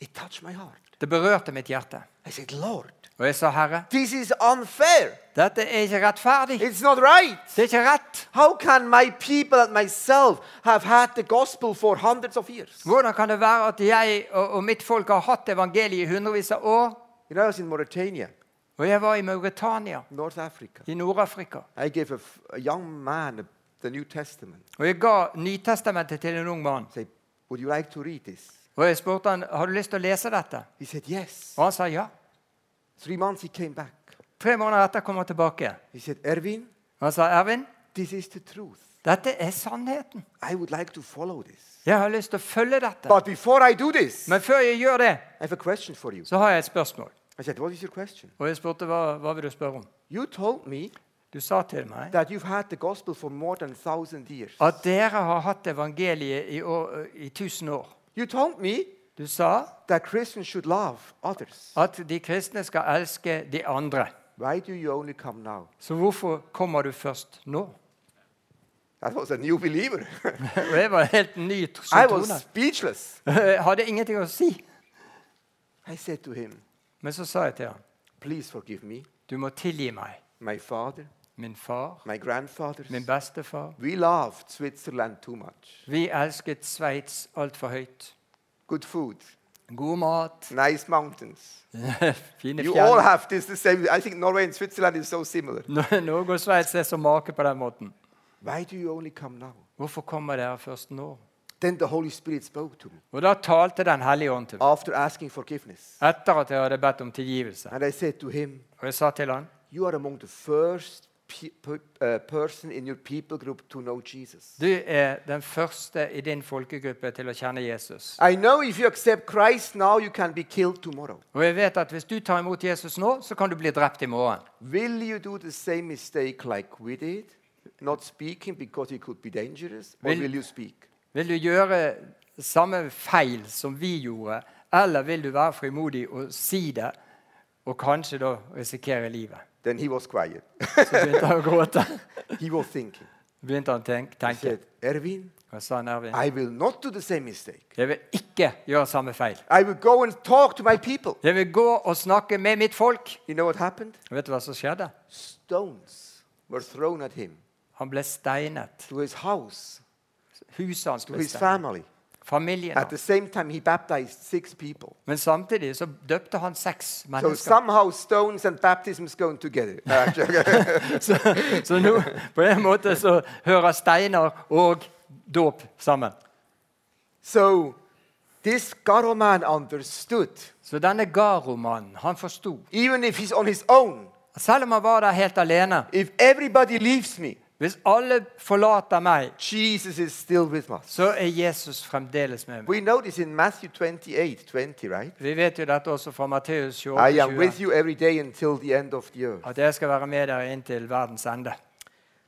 [SPEAKER 2] it touched my heart.
[SPEAKER 3] Det berørte mitt hjerte.
[SPEAKER 2] I said, Lord,
[SPEAKER 3] Og jeg sa, Herre,
[SPEAKER 2] this is unfair.
[SPEAKER 3] dette er ikke rettferdig.
[SPEAKER 2] It's not right.
[SPEAKER 3] Det er ikke rett.
[SPEAKER 2] How can my people and myself have had the gospel for hundreds of years?
[SPEAKER 3] Hvordan kan det være at jeg og, og mitt folk har hatt evangeliet i hundrevis av år?
[SPEAKER 2] You know, I was in Mauritania,
[SPEAKER 3] Og jeg var i Mauritania,
[SPEAKER 2] North Africa.
[SPEAKER 3] i Nord-Afrika.
[SPEAKER 2] I gave a, f- a young man the New Testament.
[SPEAKER 3] Og jeg ga Nytestamentet til en ung mann.
[SPEAKER 2] I said, Would you like to read this?
[SPEAKER 3] Og jeg spurte han, har du lyst til å lese dette.
[SPEAKER 2] He said, Yes.
[SPEAKER 3] Og han sa ja.
[SPEAKER 2] Three months he came back.
[SPEAKER 3] Tre måneder etter kom han tilbake.
[SPEAKER 2] He said, Erwin,
[SPEAKER 3] Han sa, Ervin,
[SPEAKER 2] this is the truth.
[SPEAKER 3] dette er sannheten.
[SPEAKER 2] I would like to follow this.
[SPEAKER 3] Jeg har lyst til å følge dette.
[SPEAKER 2] But before I do this, I
[SPEAKER 3] Men før jeg gjør det,
[SPEAKER 2] have a question for you.
[SPEAKER 3] så har jeg et spørsmål.
[SPEAKER 2] I said, What is your question?
[SPEAKER 3] Og jeg spurte, hva, hva vil du spørre om?
[SPEAKER 2] You told me
[SPEAKER 3] Du sa til meg
[SPEAKER 2] that you've had the gospel for more than a thousand years.
[SPEAKER 3] at dere har hatt evangeliet i, år, i tusen år.
[SPEAKER 2] You told me
[SPEAKER 3] Du sa
[SPEAKER 2] that Christians should love others.
[SPEAKER 3] at de kristne skal elske de andre.
[SPEAKER 2] Why do you only come now?
[SPEAKER 3] Så hvorfor kommer du først nå?
[SPEAKER 2] That was a new believer.
[SPEAKER 3] Og jeg var helt ny tr-
[SPEAKER 2] I
[SPEAKER 3] som
[SPEAKER 2] was
[SPEAKER 3] troende.
[SPEAKER 2] speechless.
[SPEAKER 3] Jeg hadde ingenting å si.
[SPEAKER 2] I said to him,
[SPEAKER 3] Men så sa jeg til ham,
[SPEAKER 2] Please forgive me,
[SPEAKER 3] du må tilgi meg.
[SPEAKER 2] my father,
[SPEAKER 3] Min far,
[SPEAKER 2] my grandfathers.
[SPEAKER 3] min bestefar.
[SPEAKER 2] We loved Switzerland too much.
[SPEAKER 3] Vi elsket Sveits altfor høyt.
[SPEAKER 2] Good food,
[SPEAKER 3] God mat,
[SPEAKER 2] nice mountains.
[SPEAKER 3] [laughs] fine
[SPEAKER 2] You all
[SPEAKER 3] fjell.
[SPEAKER 2] have this the same. I think Norway and Switzerland is so similar.
[SPEAKER 3] Nå- Norge og Sveits er som make på den måten.
[SPEAKER 2] Why do you only come now?
[SPEAKER 3] Hvorfor kommer dere først nå?
[SPEAKER 2] Then the Holy Spirit spoke to me
[SPEAKER 3] Og da talte Den hellige ånd til meg.
[SPEAKER 2] after asking forgiveness.
[SPEAKER 3] Etter at jeg hadde bedt om tilgivelse.
[SPEAKER 2] And I said to him,
[SPEAKER 3] Og jeg sa til han,
[SPEAKER 2] You are among the first pe- pe- uh, person in your people group to know Jesus.
[SPEAKER 3] du er den første i din folkegruppe til å kjenne Jesus.
[SPEAKER 2] I know if you accept Christ now, you can be killed tomorrow.
[SPEAKER 3] Og jeg vet at hvis du tar imot Jesus nå, så kan du bli drept i morgen.
[SPEAKER 2] Will you do the same mistake like we did? Not speaking because it could be dangerous? Or
[SPEAKER 3] Will-
[SPEAKER 2] will you speak?
[SPEAKER 3] Vil du gjøre samme feil som vi gjorde, eller vil du være frimodig og si det, og kanskje da risikere livet?
[SPEAKER 2] Then he was quiet. [laughs]
[SPEAKER 3] Så begynte han å gråte.
[SPEAKER 2] he was thinking.
[SPEAKER 3] Begynte han å tenk-
[SPEAKER 2] He
[SPEAKER 3] tenke.
[SPEAKER 2] said, Erwin,
[SPEAKER 3] Og sa han, Ervin,
[SPEAKER 2] I will not do the same mistake.
[SPEAKER 3] jeg vil ikke gjøre samme feil.
[SPEAKER 2] I will go and talk to my people.
[SPEAKER 3] Jeg vil gå og snakke med mitt folk.
[SPEAKER 2] You know what happened?
[SPEAKER 3] Og vet du hva som skjedde?
[SPEAKER 2] Stones were thrown at him,
[SPEAKER 3] Han ble steinet.
[SPEAKER 2] to his house,
[SPEAKER 3] Huset hans
[SPEAKER 2] to
[SPEAKER 3] ble
[SPEAKER 2] his
[SPEAKER 3] steinet.
[SPEAKER 2] family.
[SPEAKER 3] Familien
[SPEAKER 2] At the
[SPEAKER 3] hans.
[SPEAKER 2] same time, he baptized six people.
[SPEAKER 3] Men samtidig så døpte han seks
[SPEAKER 2] So
[SPEAKER 3] mennesker.
[SPEAKER 2] somehow stones and baptisms going together. [laughs] Uh,
[SPEAKER 3] [laughs] Så, så nå, på en måte så hører steiner og dåp sammen.
[SPEAKER 2] so this Garo man understood,
[SPEAKER 3] Så denne Garo-mannen, han forsto.
[SPEAKER 2] even if he's on his own,
[SPEAKER 3] Selv om han var der helt alene.
[SPEAKER 2] if everybody leaves me,
[SPEAKER 3] Hvis alle forlater meg,
[SPEAKER 2] Jesus is still with us.
[SPEAKER 3] så er Jesus fremdeles med meg.
[SPEAKER 2] We know this in Matthew 28 20, right?
[SPEAKER 3] Vi vet jo dette også fra Matteus
[SPEAKER 2] I am
[SPEAKER 3] 28,
[SPEAKER 2] with you every day until the end of the earth.
[SPEAKER 3] at jeg skal være med dere inntil verdens ende.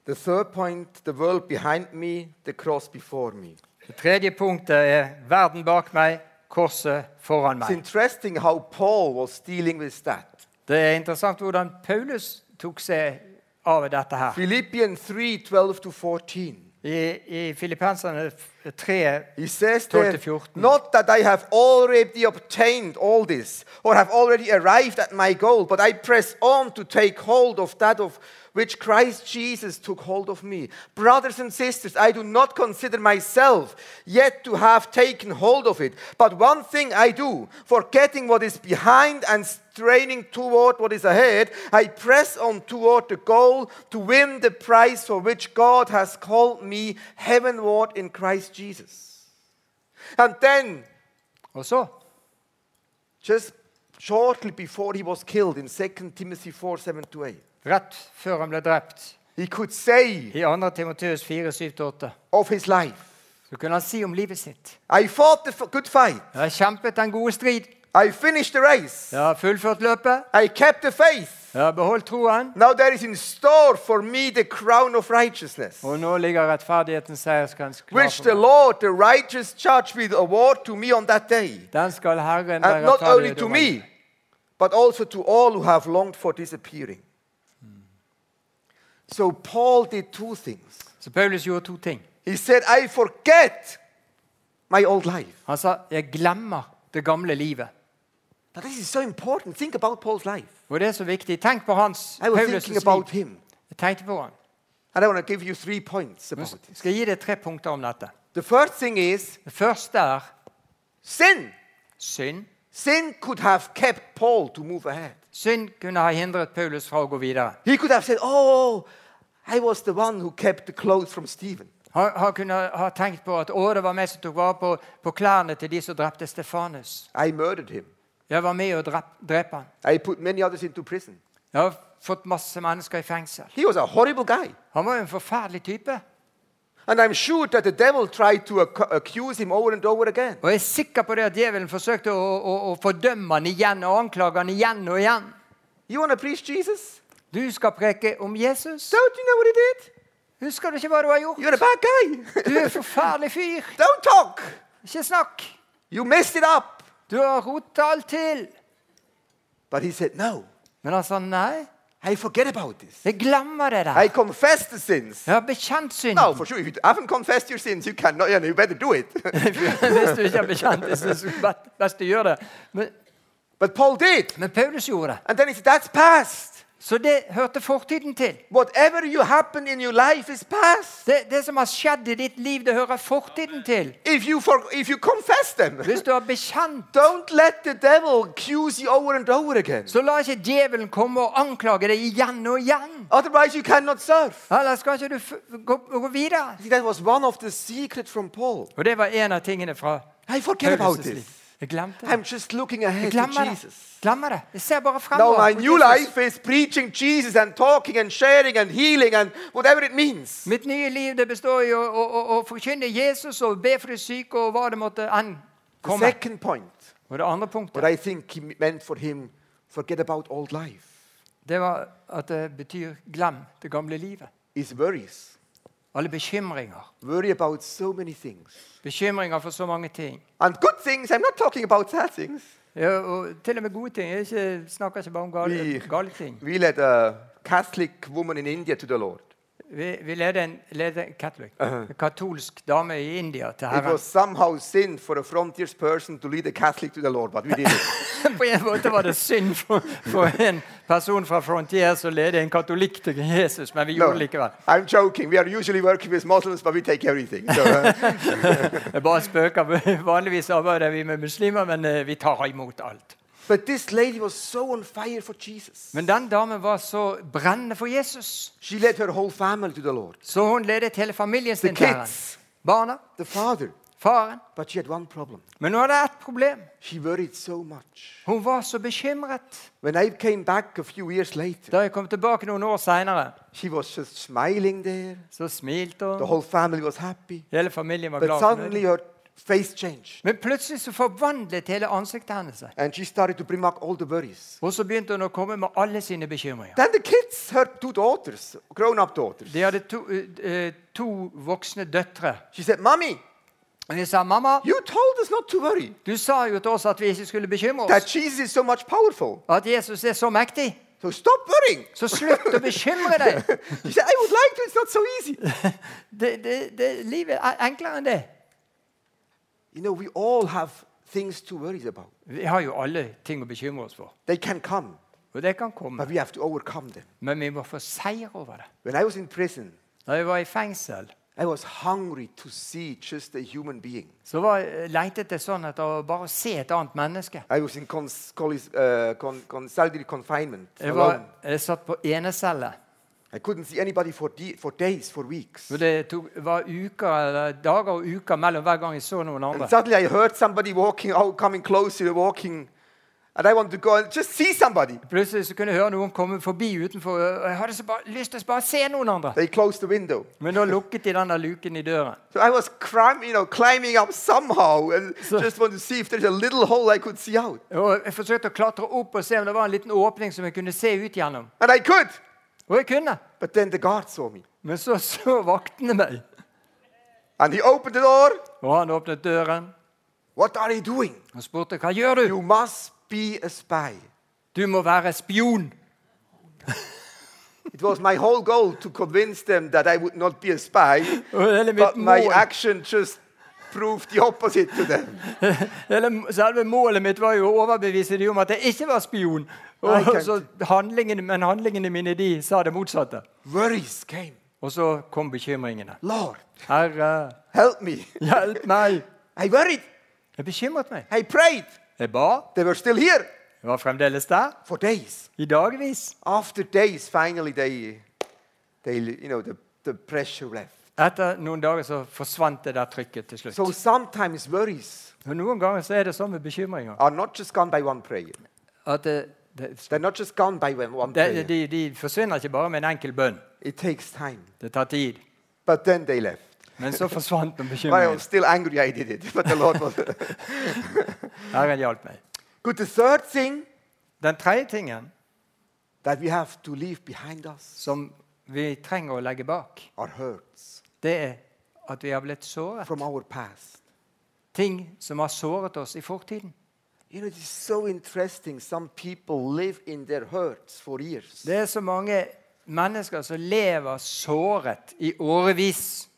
[SPEAKER 2] The third point the world behind me, the cross before me.
[SPEAKER 3] Det tredje punktet er verden bak meg, korset foran
[SPEAKER 2] It's
[SPEAKER 3] meg.
[SPEAKER 2] interesting how Paul was dealing with that.
[SPEAKER 3] Det er interessant hvordan Paulus tok seg av dette her.
[SPEAKER 2] Philippians 3 12 to 14.
[SPEAKER 3] I, i Filippenserne 3
[SPEAKER 2] He says
[SPEAKER 3] Twelve
[SPEAKER 2] there,
[SPEAKER 3] to 14.
[SPEAKER 2] not that I have already obtained all this or have already arrived at my goal, but I press on to take hold of that of which Christ Jesus took hold of me. Brothers and sisters, I do not consider myself yet to have taken hold of it. But one thing I do, forgetting what is behind and straining toward what is ahead, I press on toward the goal to win the prize for which God has called me heavenward in Christ Jesus. And then
[SPEAKER 3] Og så
[SPEAKER 2] just shortly before he was killed in 2 Timothy 4 7 to 8.
[SPEAKER 3] Rett før han ble drept,
[SPEAKER 2] He could say
[SPEAKER 3] i 2. Timoteus 4, 7-8,
[SPEAKER 2] of his life,
[SPEAKER 3] så kunne han si om livet sitt.
[SPEAKER 2] I fought the f- good fight,
[SPEAKER 3] Jeg har kjempet den gode strid.
[SPEAKER 2] I finished the race,
[SPEAKER 3] Jeg har fullført løpet.
[SPEAKER 2] I kept the faith.
[SPEAKER 3] Jeg har beholdt troen.
[SPEAKER 2] Now there is in store for me the crown of righteousness,
[SPEAKER 3] Og nå ligger rettferdighetens seierskrans klar
[SPEAKER 2] which the
[SPEAKER 3] for meg.
[SPEAKER 2] Lord, the righteous judge, will award to me on that day.
[SPEAKER 3] Den skal Herren
[SPEAKER 2] And
[SPEAKER 3] være
[SPEAKER 2] Uh, not only
[SPEAKER 3] rettferdig
[SPEAKER 2] to
[SPEAKER 3] dommer.
[SPEAKER 2] me, but also to all who have longed for this appearing. Hmm. So Paul did two things.
[SPEAKER 3] Så Paulus gjorde to ting.
[SPEAKER 2] He said, I forget my old life.
[SPEAKER 3] Han sa 'jeg glemmer det gamle livet'.
[SPEAKER 2] Now, this is so important. Think about Paul's life.
[SPEAKER 3] Og det er så viktig. Tenk på hans
[SPEAKER 2] I was
[SPEAKER 3] Paulus'
[SPEAKER 2] thinking about
[SPEAKER 3] liv.
[SPEAKER 2] him.
[SPEAKER 3] Jeg tenkte på han.
[SPEAKER 2] And I want to give you three points
[SPEAKER 3] Nå
[SPEAKER 2] about
[SPEAKER 3] s-
[SPEAKER 2] it.
[SPEAKER 3] skal jeg gi deg tre punkter om dette.
[SPEAKER 2] The first thing is
[SPEAKER 3] Det første er
[SPEAKER 2] sin.
[SPEAKER 3] synd.
[SPEAKER 2] Sin could have kept Paul to move ahead.
[SPEAKER 3] Synd kunne ha hindret Paulus fra å gå videre.
[SPEAKER 2] He could have said, Oh, I was the one who kept the clothes from Stephen.
[SPEAKER 3] Han, han kunne ha tenkt på at 'Å, det var meg som tok vare på, på klærne til de som drepte Stefanus'.
[SPEAKER 2] I murdered him.
[SPEAKER 3] Jeg var med å drepe, drepe han.
[SPEAKER 2] I put many others into prison.
[SPEAKER 3] Jeg har fått masse mennesker i fengsel.
[SPEAKER 2] He was a horrible guy.
[SPEAKER 3] Han var jo en forferdelig type.
[SPEAKER 2] And I'm sure that the devil tried to ac- accuse him over and over again.
[SPEAKER 3] Og jeg er sikker på det at djevelen forsøkte å, å, å fordømme han igjen og anklage han igjen og igjen.
[SPEAKER 2] You want to preach Jesus?
[SPEAKER 3] Du skal preke om Jesus.
[SPEAKER 2] Don't you know what he did?
[SPEAKER 3] Husker du ikke hva du har gjort?
[SPEAKER 2] You're a bad
[SPEAKER 3] Du
[SPEAKER 2] guy.
[SPEAKER 3] er en forferdelig fyr.
[SPEAKER 2] Don't talk.
[SPEAKER 3] Ikke snakk.
[SPEAKER 2] You messed it up.
[SPEAKER 3] Du har rota alt til.
[SPEAKER 2] But he said, No,
[SPEAKER 3] Men han sa nei.
[SPEAKER 2] I forget about this.
[SPEAKER 3] Jeg glemmer det der.
[SPEAKER 2] I confess the sins.
[SPEAKER 3] Jeg har bekjent
[SPEAKER 2] No,
[SPEAKER 3] [laughs] synden.
[SPEAKER 2] for sure. If you haven't confessed your sins, you cannot. You, know, you better do it. [laughs]
[SPEAKER 3] Hvis du ikke har bekjent det, så er det best du gjør det. Men,
[SPEAKER 2] but Paul did.
[SPEAKER 3] men Paulus gjorde det.
[SPEAKER 2] And then he said, That's past.
[SPEAKER 3] Så det hørte fortiden til.
[SPEAKER 2] Whatever you happen in your life is past.
[SPEAKER 3] Det, det som har skjedd i ditt liv, det hører fortiden til.
[SPEAKER 2] If you, for, if you confess them,
[SPEAKER 3] Hvis du har bekjent
[SPEAKER 2] [laughs] don't let the devil accuse you over and over again.
[SPEAKER 3] Så la ikke djevelen komme og anklage deg igjen og igjen.
[SPEAKER 2] Otherwise, you cannot serve.
[SPEAKER 3] Ellers skal ikke du f gå, gå videre.
[SPEAKER 2] See, that was one of the secrets from Paul.
[SPEAKER 3] Og det var en av tingene fra
[SPEAKER 2] I forget about
[SPEAKER 3] Paulus'
[SPEAKER 2] this.
[SPEAKER 3] liv. Jeg glemte det.
[SPEAKER 2] I'm just looking ahead
[SPEAKER 3] Jeg
[SPEAKER 2] to
[SPEAKER 3] glemmer det.
[SPEAKER 2] Jesus.
[SPEAKER 3] Glemmer det. Jeg ser bare
[SPEAKER 2] Now
[SPEAKER 3] fremover.
[SPEAKER 2] my
[SPEAKER 3] mot
[SPEAKER 2] new
[SPEAKER 3] Jesus.
[SPEAKER 2] life is preaching Jesus and talking and sharing and healing and whatever it means.
[SPEAKER 3] Mitt nye liv det består i å, å, å, å forkynne Jesus og be for de syke og hva det måtte enn
[SPEAKER 2] The
[SPEAKER 3] komme.
[SPEAKER 2] second point,
[SPEAKER 3] Og det andre punktet,
[SPEAKER 2] what I think he meant for him, forget about old life,
[SPEAKER 3] det var at det betyr glem det gamle livet.
[SPEAKER 2] is worries.
[SPEAKER 3] Alle bekymringer.
[SPEAKER 2] Worry about so many things.
[SPEAKER 3] Bekymringer for så mange ting.
[SPEAKER 2] And good things, I'm not talking about sad things.
[SPEAKER 3] Ja, og til og med gode ting. Jeg ikke, snakker ikke bare om
[SPEAKER 2] Vi-
[SPEAKER 3] gale, gale ting.
[SPEAKER 2] We led a Catholic woman in India to the Lord.
[SPEAKER 3] Vi, vi leder en, leder en Catholic, en katolsk dame i India til
[SPEAKER 2] It
[SPEAKER 3] Herren.
[SPEAKER 2] was somehow sin for a frontiers person to lead a Catholic to the Lord, but we did it.
[SPEAKER 3] [laughs] På en måte var det synd for, for en person fra Frontiers å lede en katolikk til Jesus, men vi gjorde det likevel.
[SPEAKER 2] I'm joking. We are usually working with Muslims, but we take everything. So, uh,
[SPEAKER 3] Jeg bare spøker. [laughs] Vanligvis arbeider vi med muslimer, men eh, vi tar imot alt.
[SPEAKER 2] But this lady was so on fire for Jesus.
[SPEAKER 3] Men den damen var så brennende for Jesus,
[SPEAKER 2] She led her whole family to the Lord.
[SPEAKER 3] så hun ledet hele familien
[SPEAKER 2] The
[SPEAKER 3] sin til Herren.
[SPEAKER 2] kids,
[SPEAKER 3] Barna,
[SPEAKER 2] the father.
[SPEAKER 3] faren.
[SPEAKER 2] But she had one problem.
[SPEAKER 3] Men hun hadde ett problem.
[SPEAKER 2] She worried so much.
[SPEAKER 3] Hun var så bekymret.
[SPEAKER 2] When I came back a few years later,
[SPEAKER 3] Da jeg kom tilbake noen år seinere,
[SPEAKER 2] she was just smiling there.
[SPEAKER 3] så smilte
[SPEAKER 2] The
[SPEAKER 3] hun.
[SPEAKER 2] whole family was happy.
[SPEAKER 3] Hele familien var
[SPEAKER 2] But
[SPEAKER 3] glad. for
[SPEAKER 2] suddenly
[SPEAKER 3] det.
[SPEAKER 2] her face changed.
[SPEAKER 3] Men plutselig så forvandlet hele ansiktet hennes seg.
[SPEAKER 2] And she started to bring back all the worries.
[SPEAKER 3] Og så begynte hun å komme med alle sine bekymringer.
[SPEAKER 2] Then the kids, her two daughters, grown up daughters,
[SPEAKER 3] De hadde to, eh, to voksne døtre.
[SPEAKER 2] she said, Mommy,
[SPEAKER 3] Og de sa, 'Mamma,
[SPEAKER 2] you told us not to worry.
[SPEAKER 3] du sa jo til oss at vi ikke skulle bekymre
[SPEAKER 2] That
[SPEAKER 3] oss.'
[SPEAKER 2] Jesus is so much powerful.
[SPEAKER 3] At Jesus er så mektig.
[SPEAKER 2] So stop worrying. [laughs]
[SPEAKER 3] Så slutt å bekymre deg.
[SPEAKER 2] She said, I would like to, it's not so easy.
[SPEAKER 3] Det, det, det, livet er enklere enn det.
[SPEAKER 2] You know, we all have things to worry about.
[SPEAKER 3] Vi har jo alle ting å bekymre oss for.
[SPEAKER 2] They can come.
[SPEAKER 3] Og det kan
[SPEAKER 2] but
[SPEAKER 3] komme,
[SPEAKER 2] we have to overcome them.
[SPEAKER 3] men vi må få seier over det.
[SPEAKER 2] When I was in prison,
[SPEAKER 3] Da jeg var i fengsel,
[SPEAKER 2] I was hungry to see just a human being.
[SPEAKER 3] så var, leitet jeg sånn etter å bare se et annet menneske.
[SPEAKER 2] I was in cons- colis- uh, con- con- solitary confinement
[SPEAKER 3] Jeg, var,
[SPEAKER 2] alone.
[SPEAKER 3] jeg satt på enecelle.
[SPEAKER 2] I couldn't see anybody for, de- for days, for weeks.
[SPEAKER 3] Og det tok, var uker, eller dager og uker mellom hver gang jeg så noen
[SPEAKER 2] And
[SPEAKER 3] andre.
[SPEAKER 2] suddenly I heard somebody walking out, coming closer, walking, and I want to go and just see somebody.
[SPEAKER 3] Plutselig så kunne jeg høre noen komme forbi utenfor, og jeg hadde så bare lyst til å bare se noen andre.
[SPEAKER 2] They closed the window.
[SPEAKER 3] Men da lukket de den der luken i døren.
[SPEAKER 2] So I was climb, you know, climbing up somehow and just want to see if there's a little hole I could see out.
[SPEAKER 3] Og jeg forsøkte å klatre opp og se om det var en liten åpning som jeg kunne se ut gjennom.
[SPEAKER 2] And I could.
[SPEAKER 3] Og jeg kunne.
[SPEAKER 2] But then the guard saw me.
[SPEAKER 3] Men så så vaktene meg.
[SPEAKER 2] And he opened the door.
[SPEAKER 3] Og han åpnet døren
[SPEAKER 2] What are you doing?
[SPEAKER 3] og spurte hva gjør du?
[SPEAKER 2] You must be a spy.
[SPEAKER 3] Du må være spion.
[SPEAKER 2] It was my whole goal to convince them that I would not be [laughs] a spy,
[SPEAKER 3] Og hele mitt
[SPEAKER 2] but my
[SPEAKER 3] mål,
[SPEAKER 2] action just proved the opposite to them.
[SPEAKER 3] [laughs] hele, selve målet mitt var jo å overbevise dem om at jeg ikke var spion.
[SPEAKER 2] Nei,
[SPEAKER 3] Og
[SPEAKER 2] Kent.
[SPEAKER 3] så handlingene, men handlingene mine de sa det motsatte.
[SPEAKER 2] Worries came.
[SPEAKER 3] Og så kom bekymringene.
[SPEAKER 2] Lord,
[SPEAKER 3] Herre,
[SPEAKER 2] [laughs] help me.
[SPEAKER 3] hjelp meg.
[SPEAKER 2] I worried.
[SPEAKER 3] Jeg bekymret meg.
[SPEAKER 2] I prayed.
[SPEAKER 3] Jeg ba.
[SPEAKER 2] They were still here
[SPEAKER 3] Jeg var fremdeles der.
[SPEAKER 2] for days.
[SPEAKER 3] I dagvis.
[SPEAKER 2] After days, finally they, they you know, the, the pressure left.
[SPEAKER 3] Etter noen dager så forsvant det der trykket til slutt.
[SPEAKER 2] So sometimes worries
[SPEAKER 3] Og noen ganger så er det sånn med bekymringer
[SPEAKER 2] are not just gone by one prayer.
[SPEAKER 3] at det, det,
[SPEAKER 2] They're not just gone by one, one
[SPEAKER 3] det,
[SPEAKER 2] prayer.
[SPEAKER 3] de, de forsvinner ikke bare med en enkel bønn.
[SPEAKER 2] It takes time.
[SPEAKER 3] Det tar tid.
[SPEAKER 2] But then they left.
[SPEAKER 3] Men så forsvant den
[SPEAKER 2] But I
[SPEAKER 3] bekymringen.
[SPEAKER 2] was still angry I did it. [laughs] But the Lord was.
[SPEAKER 3] Herren hjalp meg.
[SPEAKER 2] Good. The third thing
[SPEAKER 3] Den tredje tingen
[SPEAKER 2] that we have to leave behind us
[SPEAKER 3] som vi trenger å legge bak,
[SPEAKER 2] are hurts
[SPEAKER 3] det er at vi har blitt såret.
[SPEAKER 2] from our past.
[SPEAKER 3] Ting som har såret oss i fortiden.
[SPEAKER 2] You know, it is so interesting. Some people live in their hurts for years.
[SPEAKER 3] Det er så mange mennesker som lever såret i årevis.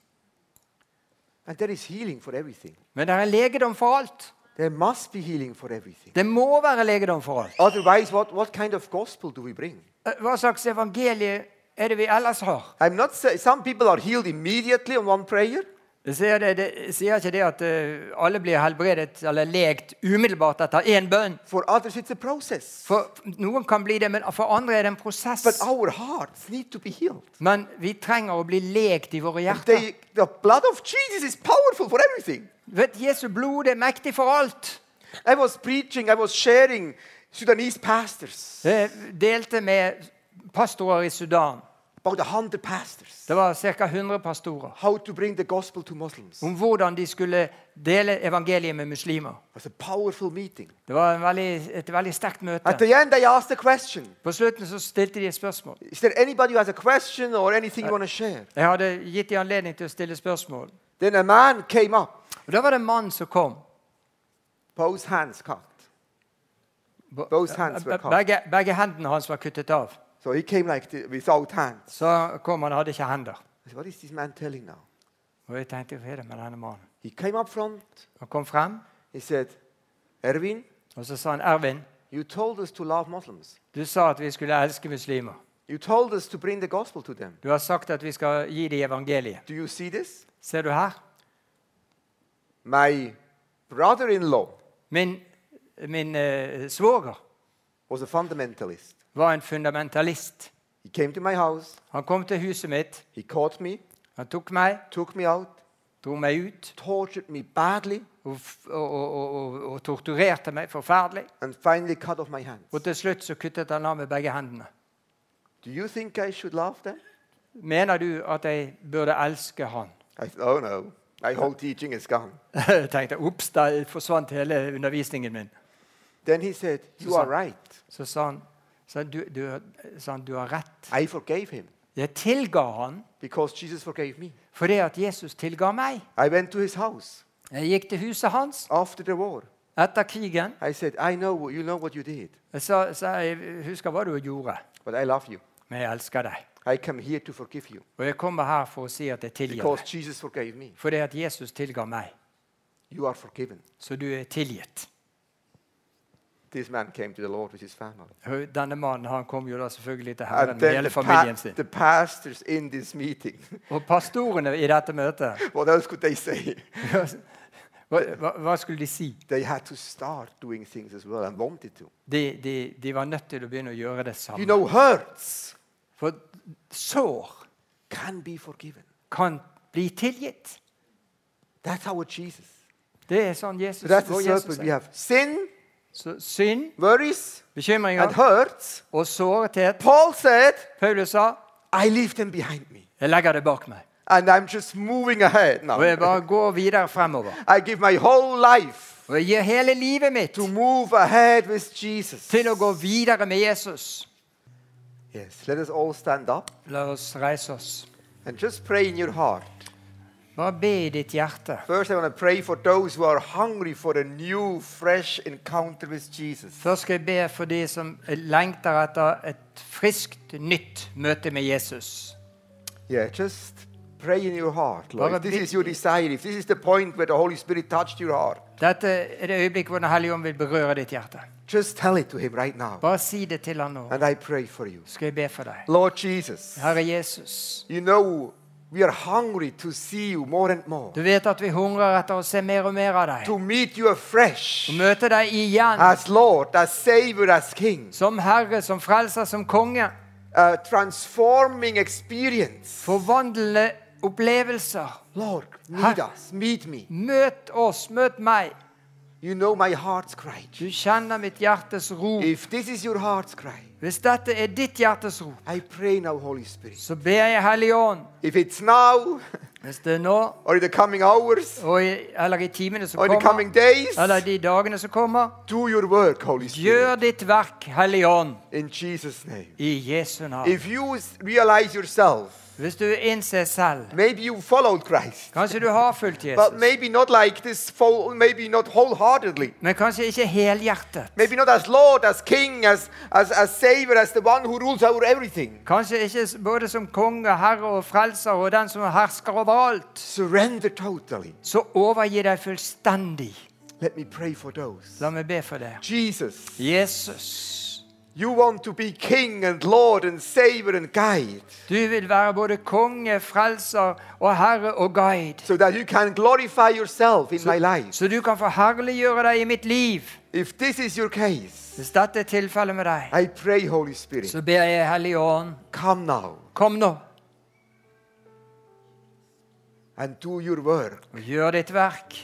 [SPEAKER 2] And there is healing for everything.
[SPEAKER 3] Men det er legedom for alt.
[SPEAKER 2] There must be healing for everything.
[SPEAKER 3] Det må være legedom for alt. Eh,
[SPEAKER 2] Otherwise, what, what kind of gospel do we bring?
[SPEAKER 3] Hva slags evangelie er det vi ellers har?
[SPEAKER 2] I'm not saying some people are healed immediately on one prayer.
[SPEAKER 3] Jeg sier, det, det, jeg sier ikke det at eh, alle blir helbredet eller lekt umiddelbart etter én bønn.
[SPEAKER 2] For others, it's a process.
[SPEAKER 3] For noen kan bli det, men for andre er det en prosess.
[SPEAKER 2] But our hearts need to be healed.
[SPEAKER 3] Men vi trenger å bli lekt i våre
[SPEAKER 2] And
[SPEAKER 3] hjerter.
[SPEAKER 2] they, the blood of Jesus is powerful for everything.
[SPEAKER 3] Vet, Jesu blod er mektig for alt.
[SPEAKER 2] I was preaching, I was sharing Sudanese pastors,
[SPEAKER 3] Jeg delte med pastorer i Sudan.
[SPEAKER 2] about 100 pastors,
[SPEAKER 3] Det var ca. 100 pastorer.
[SPEAKER 2] how to bring the gospel to Muslims. It
[SPEAKER 3] Om hvordan de skulle dele evangeliet med muslimer.
[SPEAKER 2] was a powerful meeting.
[SPEAKER 3] Det var en veldig, et veldig sterkt
[SPEAKER 2] At
[SPEAKER 3] møte.
[SPEAKER 2] the end, I asked a question
[SPEAKER 3] På slutten så stilte de et spørsmål.
[SPEAKER 2] Is there anybody who has a question or anything you want to share?
[SPEAKER 3] Jeg hadde gitt dem anledning til å stille spørsmål.
[SPEAKER 2] Then a man came up,
[SPEAKER 3] Og Da var det en mann som kom.
[SPEAKER 2] both hands cut.
[SPEAKER 3] Bo-
[SPEAKER 2] Both hands were cut.
[SPEAKER 3] Begge, begge hendene hans var kuttet av.
[SPEAKER 2] So he came like this, without hands.
[SPEAKER 3] Så kom han hadde ikke hender.
[SPEAKER 2] I said, what is this man telling now?
[SPEAKER 3] Og jeg tenkte hva er det med denne mannen?
[SPEAKER 2] He came up front.
[SPEAKER 3] Han kom frem,
[SPEAKER 2] He said, Erwin,
[SPEAKER 3] og så sa han Ervin,
[SPEAKER 2] you told us to love Muslims.
[SPEAKER 3] du sa at vi skulle elske muslimer.
[SPEAKER 2] You told us to bring the gospel to them.
[SPEAKER 3] Du har sagt at vi skal gi dem evangeliet.
[SPEAKER 2] Do you see this?
[SPEAKER 3] Ser du her?
[SPEAKER 2] My brother in law
[SPEAKER 3] Min, min eh, svoger
[SPEAKER 2] was a fundamentalist.
[SPEAKER 3] var en fundamentalist.
[SPEAKER 2] He came to my house,
[SPEAKER 3] Han kom til huset mitt,
[SPEAKER 2] he caught me,
[SPEAKER 3] han tok meg,
[SPEAKER 2] took me out,
[SPEAKER 3] dro meg ut
[SPEAKER 2] tortured me badly,
[SPEAKER 3] og, f- og, og, og, og- og torturerte meg forferdelig.
[SPEAKER 2] and finally cut off my hands.
[SPEAKER 3] Og til slutt så kuttet han av med begge hendene.
[SPEAKER 2] Do you think I should love them?
[SPEAKER 3] Mener du at jeg burde elske han?
[SPEAKER 2] I said, Oh no, my whole teaching is gone.
[SPEAKER 3] Jeg [laughs] tenkte ops, der forsvant hele undervisningen min.
[SPEAKER 2] Then he said, You are right.
[SPEAKER 3] Så sa han, sa han, du, du, sa han, du har rett.
[SPEAKER 2] I forgave him
[SPEAKER 3] Jeg tilga han
[SPEAKER 2] because Jesus forgave me.
[SPEAKER 3] fordi at Jesus tilga meg.
[SPEAKER 2] I went to his house
[SPEAKER 3] Jeg gikk til huset hans
[SPEAKER 2] after the war.
[SPEAKER 3] etter krigen.
[SPEAKER 2] I said, I know you know what you did,
[SPEAKER 3] Jeg sa, sa jeg husker hva du gjorde,
[SPEAKER 2] but I love you.
[SPEAKER 3] men jeg elsker deg.
[SPEAKER 2] I come here to forgive you
[SPEAKER 3] Og jeg kommer her for å si at jeg tilgir
[SPEAKER 2] because
[SPEAKER 3] deg.
[SPEAKER 2] Jesus forgave me.
[SPEAKER 3] Fordi at Jesus tilga meg.
[SPEAKER 2] You are forgiven.
[SPEAKER 3] Så du er tilgitt.
[SPEAKER 2] This man came to the Lord with his family.
[SPEAKER 3] Denne mannen han kom jo da selvfølgelig til Herren
[SPEAKER 2] And
[SPEAKER 3] med
[SPEAKER 2] then
[SPEAKER 3] hele
[SPEAKER 2] the, pa-
[SPEAKER 3] familien sin.
[SPEAKER 2] the pastors in this meeting, [laughs]
[SPEAKER 3] Og pastorene i dette møtet, [laughs]
[SPEAKER 2] what else could they say?
[SPEAKER 3] hva, hva- hva skulle de si?
[SPEAKER 2] They had to start doing things as well and wanted to.
[SPEAKER 3] De, de, de var nødt til å begynne å gjøre det
[SPEAKER 2] You
[SPEAKER 3] samme.
[SPEAKER 2] know, hurts
[SPEAKER 3] For sår
[SPEAKER 2] can be forgiven.
[SPEAKER 3] kan bli tilgitt.
[SPEAKER 2] That's our Jesus.
[SPEAKER 3] Det er sånn Jesus
[SPEAKER 2] So that's the
[SPEAKER 3] går Jesus
[SPEAKER 2] circle we
[SPEAKER 3] er.
[SPEAKER 2] have. Sin,
[SPEAKER 3] Så synd,
[SPEAKER 2] worries, and
[SPEAKER 3] bekymringer
[SPEAKER 2] hurts.
[SPEAKER 3] og sårethet.
[SPEAKER 2] Paul said,
[SPEAKER 3] Paulus sa
[SPEAKER 2] I leave them behind me.
[SPEAKER 3] 'Jeg legger det bak meg'.
[SPEAKER 2] And I'm just moving ahead
[SPEAKER 3] Og jeg
[SPEAKER 2] now.
[SPEAKER 3] bare går videre fremover.
[SPEAKER 2] [laughs] I give my whole life
[SPEAKER 3] Og jeg gir hele livet mitt
[SPEAKER 2] to move ahead with Jesus.
[SPEAKER 3] til å gå videre med Jesus.
[SPEAKER 2] Yes, let us all stand up
[SPEAKER 3] La oss reise oss.
[SPEAKER 2] and just pray in your heart.
[SPEAKER 3] Bare be i ditt hjerte.
[SPEAKER 2] First, I want to pray for those who are hungry for a new, fresh encounter with Jesus.
[SPEAKER 3] Først skal jeg be for de som lengter etter et friskt, nytt møte med Jesus.
[SPEAKER 2] Yeah, just pray in your heart, Lord. If
[SPEAKER 3] Father,
[SPEAKER 2] this
[SPEAKER 3] be-
[SPEAKER 2] is your desire, if this is the point where the Holy Spirit touched your heart,
[SPEAKER 3] Dette er det øyeblikket hvor Den hellige ånd vil berøre ditt hjerte.
[SPEAKER 2] just tell it to Him right now.
[SPEAKER 3] Bare si det til han nå.
[SPEAKER 2] And I pray for you.
[SPEAKER 3] Skal jeg be for deg.
[SPEAKER 2] Lord Jesus,
[SPEAKER 3] Herre Jesus,
[SPEAKER 2] you know we are hungry to see you more and more,
[SPEAKER 3] du vet at vi hungrer etter å se mer og mer av deg.
[SPEAKER 2] to meet you afresh
[SPEAKER 3] Å møte deg igjen
[SPEAKER 2] as Lord, as Savior, as King.
[SPEAKER 3] som herre, som frelser, som konge.
[SPEAKER 2] A transforming experience.
[SPEAKER 3] Forvandlende opplevelser.
[SPEAKER 2] Lord, meet
[SPEAKER 3] Huh?
[SPEAKER 2] us, meet me.
[SPEAKER 3] Møt oss, møt meg.
[SPEAKER 2] You know my heart's cry.
[SPEAKER 3] Du kjenner mitt hjertes ro.
[SPEAKER 2] If this is your heart's cry,
[SPEAKER 3] Hvis dette er ditt hjertes ro,
[SPEAKER 2] I pray now, Holy Spirit.
[SPEAKER 3] så ber jeg Hellige Ånd.
[SPEAKER 2] If it's now, [laughs]
[SPEAKER 3] Hvis det er nå,
[SPEAKER 2] or in the coming hours,
[SPEAKER 3] og i, eller i timene som
[SPEAKER 2] or in the coming
[SPEAKER 3] kommer,
[SPEAKER 2] days,
[SPEAKER 3] eller de dagene som kommer,
[SPEAKER 2] do your work, Holy
[SPEAKER 3] gjør
[SPEAKER 2] Spirit,
[SPEAKER 3] ditt verk, Hellige Ånd,
[SPEAKER 2] in Jesus' name.
[SPEAKER 3] i Jesu navn.
[SPEAKER 2] If you s- realize yourself,
[SPEAKER 3] Hvis du innser selv
[SPEAKER 2] maybe you followed Christ,
[SPEAKER 3] Kanskje du har fulgt
[SPEAKER 2] but
[SPEAKER 3] Jesus,
[SPEAKER 2] maybe not like this, fo- maybe not wholeheartedly,
[SPEAKER 3] men kanskje ikke helhjertet.
[SPEAKER 2] maybe not as Lord, as King, as, as, as Savior, as the one who rules over everything.
[SPEAKER 3] Kanskje ikke s- både som konge, herre og frelser og den som hersker overalt.
[SPEAKER 2] Surrender totally.
[SPEAKER 3] Så overgi deg fullstendig.
[SPEAKER 2] Let me pray for those.
[SPEAKER 3] La meg be for det.
[SPEAKER 2] Jesus.
[SPEAKER 3] Jesus,
[SPEAKER 2] You want to be king and lord and savior and guide
[SPEAKER 3] du vil være både konge, frelser og herre og guide.
[SPEAKER 2] so that you can glorify yourself in my life.
[SPEAKER 3] Så du kan få herliggjøre deg i mitt liv.
[SPEAKER 2] If this is your case,
[SPEAKER 3] Hvis dette er tilfellet med deg,
[SPEAKER 2] I pray, Holy Spirit,
[SPEAKER 3] så ber jeg Hellige Ånd,
[SPEAKER 2] come now
[SPEAKER 3] kom nå
[SPEAKER 2] and do your work.
[SPEAKER 3] og gjør ditt verk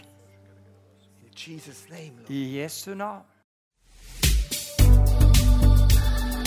[SPEAKER 2] In Jesus' name, Lord.
[SPEAKER 3] i Jesu navn.